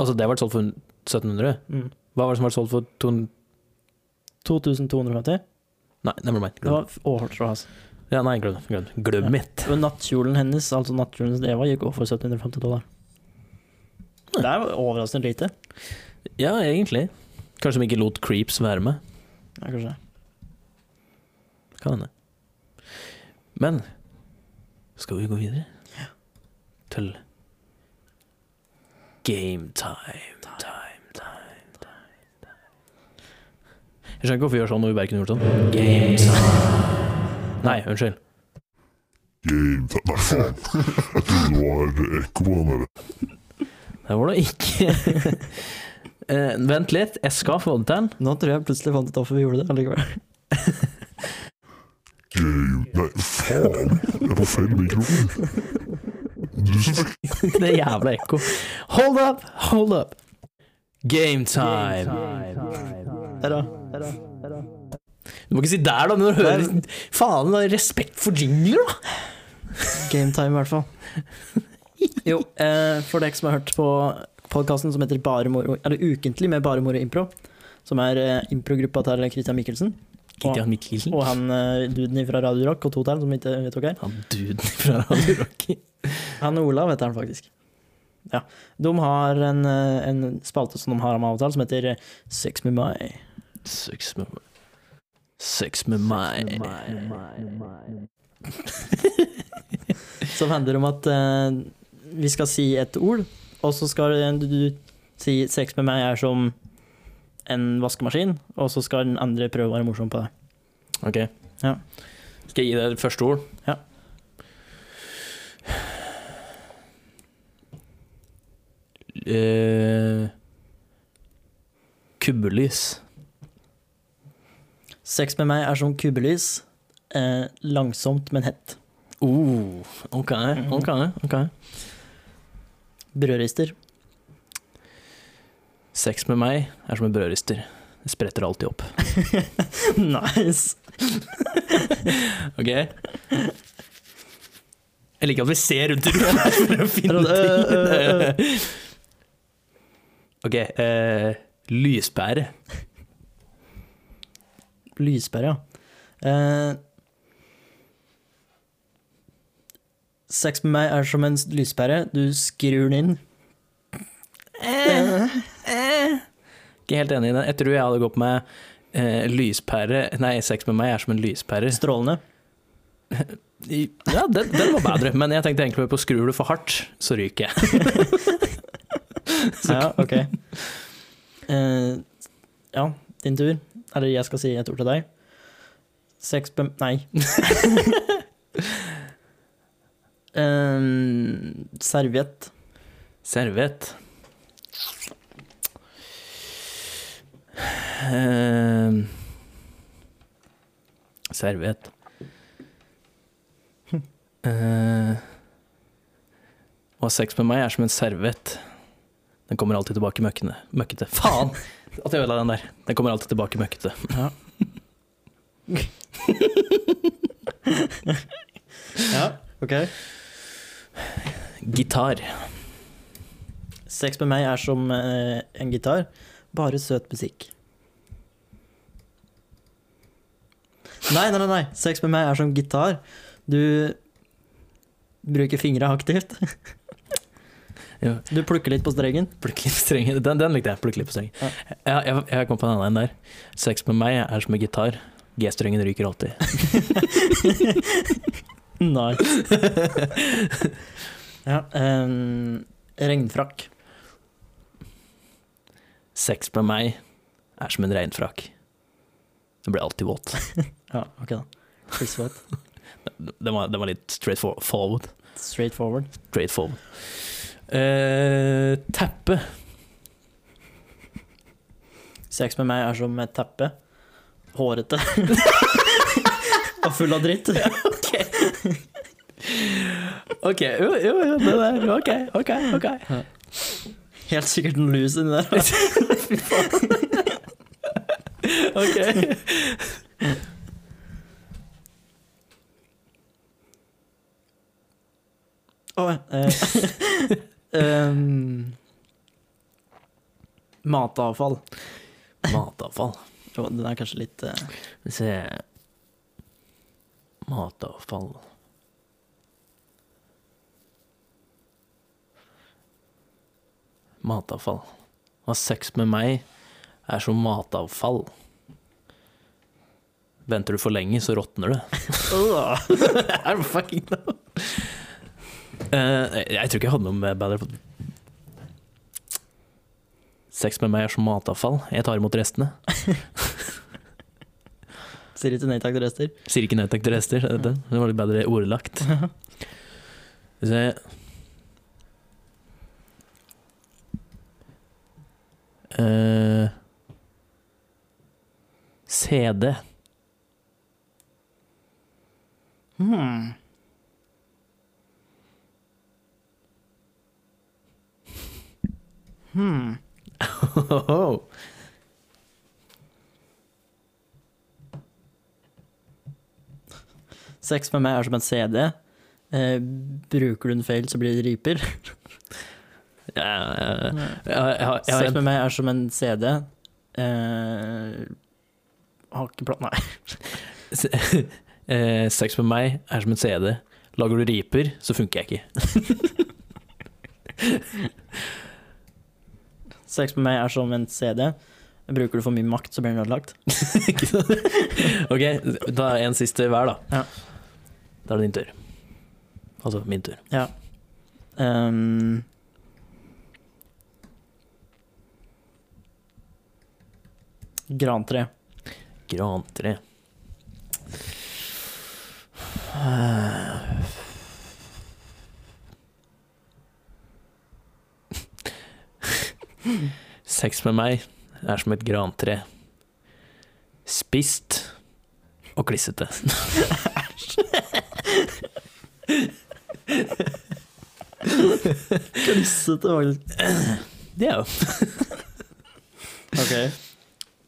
S1: Altså, det har vært solgt for 1700?
S2: Mm.
S1: Hva var det som har vært solgt for 200
S2: 2250.
S1: Nei, never mind.
S2: Det
S1: Glem det.
S2: var årsstraff, altså.
S1: Ja, nei, glem det. Glem, det. glem
S2: Ja.
S1: mitt.
S2: Men nattkjolen hennes, altså nattkjolen til Eva, gikk også for 1750 dollar. Det er jo overraskende lite.
S1: Ja, egentlig. Kanskje de ikke lot creeps være med.
S2: Ja, kanskje.
S1: Kan hende. Men skal vi gå videre? Til game time. Time, time, time, time. Jeg skjønner ikke hvorfor vi gjør sånn når vi bare kunne gjort sånn. Game time. Nei, unnskyld.
S3: Game time. Nei, faen. Jeg trodde det var ekko på den der.
S1: Der var det ikke Eh, Vent litt, jeg skal få det til.
S2: Nå tror jeg plutselig fant ut hvorfor vi gjorde det allikevel.
S3: Game Nei, faen. Jeg er på feil mikrofon. Du som fikk
S1: Det er jævla ekko. Hold up, hold up. Game time.
S2: Her da, her da, her da.
S1: Du må ikke si der, da, men når du hører liksom, Faen, da, respekt for jingler, da!
S2: Game time, i hvert fall. Jo, eh, for dere som har hørt på podkasten som heter Bare Moro, eller Ukentlig med Bare Moro Impro, som er eh, improgruppa til Christian Michelsen,
S1: Christian Michelsen.
S2: og han eh, duden fra Radio Rock og to der, som vi ikke vet hva er.
S1: Han duden fra Radio Rock.
S2: Han og Olav heter han faktisk. Ja. De har en, eh, en spalte som de har med avtale, som heter eh, Sex med meg.
S1: Sex med meg. Sex med meg.
S2: Som handler om at eh, vi skal si et ord, og så skal eh, du, du si sex med meg er som en vaskemaskin, og så skal den andre prøve å være morsom på det.
S1: Ok.
S2: Ja.
S1: Skal jeg gi deg det første ord?
S2: Ja.
S1: Eh, Kubbelys.
S2: Sex med meg er som kubbelys. Eh, langsomt, men hett.
S1: Oh, ok, ok, ok.
S2: Brødrister.
S1: Sex med meg er som en brødrister. Det spretter alltid opp.
S2: nice!
S1: Ok? Jeg liker at vi ser rundt i rommet her for å finne
S2: Øh, øh,
S1: ting. Ok. eh, lyspære.
S2: Lyspære, ja. Eh, sex med meg er som en lyspære. Du skrur den inn. Eh.
S1: Ikke helt enig i det. Jeg tror jeg hadde gått med eh, lyspære Nei, sex med meg er som en lyspære.
S2: Strålende.
S1: I- Ja, den, den var bedre, men jeg tenkte egentlig på skrur du for hardt, så ryker jeg.
S2: Ja, ok. Eh, ja, din tur. Eller jeg skal si et ord til deg. Sex med Nei. Eh, serviett.
S1: Serviett. Eh, Serviett. Eh, og sex med meg er som en servett. Den kommer alltid tilbake møkkende. møkkete. Faen! At jeg ødela den der. Den kommer alltid tilbake møkkete.
S2: Ja, ok.
S1: Gitar.
S2: Sex med meg er som eh, en gitar, bare søt musikk. Nei, nei, nei, nei. Sex med meg er som gitar. Du bruker fingra aktivt.
S1: Ja.
S2: Du plukker litt på strengen.
S1: Plukkelippstrengen. Den, den likte jeg. Plukkelippstrengen.
S2: Ja.
S1: Ja, jeg, jeg kom på en annen en der. Sex med meg er som en gitar. G-strengen ryker alltid.
S2: Nei. ja, ehm, regnfrakk.
S1: Sex med meg er som en regnfrakk. Den blir alltid våt.
S2: Ja, ok da. Chris Watt.
S1: Den var, den var litt straight for, forward.
S2: Straight forward.
S1: Straight forward. Eh, teppe.
S2: Sex med meg er som et teppe. Hårete. Og full av dritt.
S1: OK, jo, jo, jo det der. OK, OK. ok.
S2: helt sikkert en lus inni der.
S1: Ok.
S2: Oh, Eh, ehm, matavfall.
S1: Matavfall.
S2: Jo, den er kanskje litt eh,
S1: Skal vi se Matavfall Matavfall. Å ha sex med meg er som matavfall. Venter du for lenge, så råtner du.
S2: Er det fucking
S1: Eh, jeg tror ikke jeg hadde noe med bedre på Sex med meg er som matavfall. Jeg tar imot restene.
S2: Sier ikke nei takk til rester.
S1: Sier ikke nei takk til rester. er Det, det? det var litt bedre ordlagt. Skal vi se Eh, CD.
S2: Hmm. Hmm. Sex med meg er som en CD. Eh, bruker du den feil, så blir det riper.
S1: Ja, ja, ja. Jeg har- jeg har- jeg har
S2: Sex
S1: en-
S2: med meg er som en CD. Eh, har ikke platt... Nei.
S1: Eh, Sex med meg er som en CD. Lager du riper, så funker jeg ikke.
S2: Sex med meg er som en CD. Bruker du for mye makt, så blir den ødelagt.
S1: Ikke sant? ok, da er en siste hver, da.
S2: Ja.
S1: Da er det din tur. Altså min tur.
S2: Ehm. Grantre.
S1: Grantre. Sex med meg er som et grantre. Spist og klissete.
S2: Klissete, faktisk.
S1: Det er jo
S2: Ok.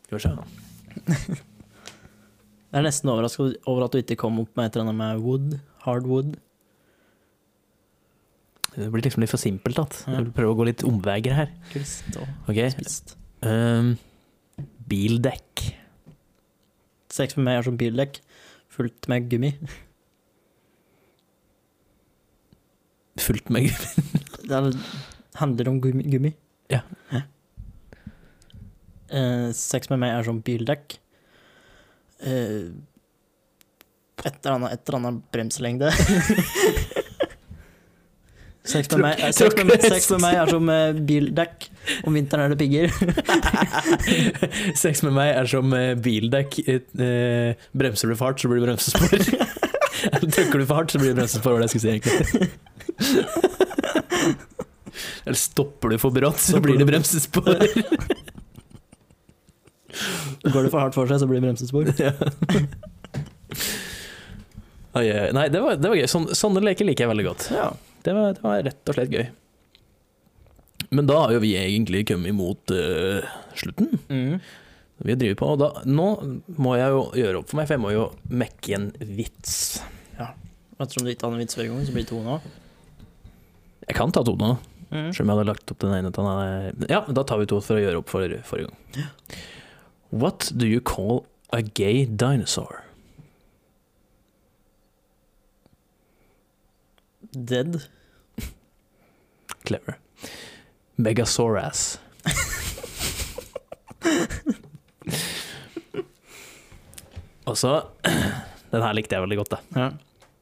S1: Skal vi se.
S2: Jeg er nesten overraska over at du ikke kom opp med et eller annet med wood. Hardwood.
S1: Det blir liksom litt for simpelt. At.
S2: Ja.
S1: Jeg prøver å gå litt omveier her.
S2: Klist og
S1: Ok.
S2: spist.
S1: Um, bildekk.
S2: Sex med meg er som bildekk fullt med gummi.
S1: Fullt med gummi.
S2: Det er, handler om gummi. gummi.
S1: Ja.
S2: Hæ? Eh, sex med meg er som bildekk. Eh, et eller annet, et eller annet bremselengde. sex, med meg, eh, sex, med, meg- sex med meg er som eh, bildekk. Om vinteren er det pigger.
S1: Sex med meg er som eh, bildekk. Et, eh, bremser du for hardt, så blir det bremsespor. Eller Trykker du for hardt, så blir det bremsespor. Hva er det jeg skulle si, egentlig? Eller stopper du for brått, så blir det bremsespor.
S2: Går det for hardt for seg, så blir det bremsespor.
S1: Ja. Oi, oi, oi. Nei, det var, det var gøy. Sånn, sånne leker liker jeg veldig godt.
S2: Ja.
S1: Det var, det var rett og slett gøy. Men da har jo vi egentlig kommet imot eh, slutten.
S2: Mm.
S1: Vi driver på, og da, nå må jeg jo gjøre opp for meg, for jeg må jo mekke en vits.
S2: Ettersom du ikke hadde en vits forrige gang, så blir det to nå.
S1: Jeg kan ta to nå,
S2: Mm.
S1: selv om jeg hadde lagt opp den ene til den andre. Ja, da tar vi to for å gjøre opp for forrige gang. What do you call a gay dinosaur?
S2: Dead.
S1: Clever. Megasaurass. og så Den her likte jeg veldig godt, da.
S2: Ja.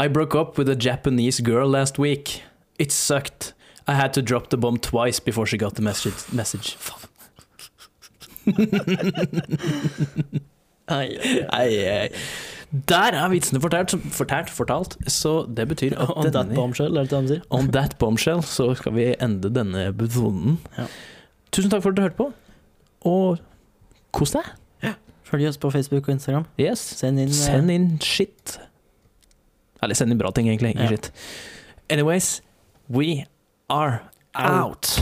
S1: I broke up with a Japanese girl last week. It sucked. I had to drop the bomb twice before she got the message. message. Faen.
S2: Ai, ai, ai.
S1: Ei, ei. eh, Der er vitsene fortalt, fortalt, fortalt, så det betyr at
S2: On that
S1: denne-
S2: bombshell, er det det han sier?
S1: on that bombshell så skal vi ende denne episoden.
S2: Ja.
S1: Tusen takk for at du hørte på, og kos deg.
S2: Følg oss på Facebook og Instagram.
S1: Yes.
S2: Send inn eh,
S1: Send inn shit. Eller send inn bra ting, egentlig. Ikke
S2: Ja.
S1: shit. Anyways, we are out.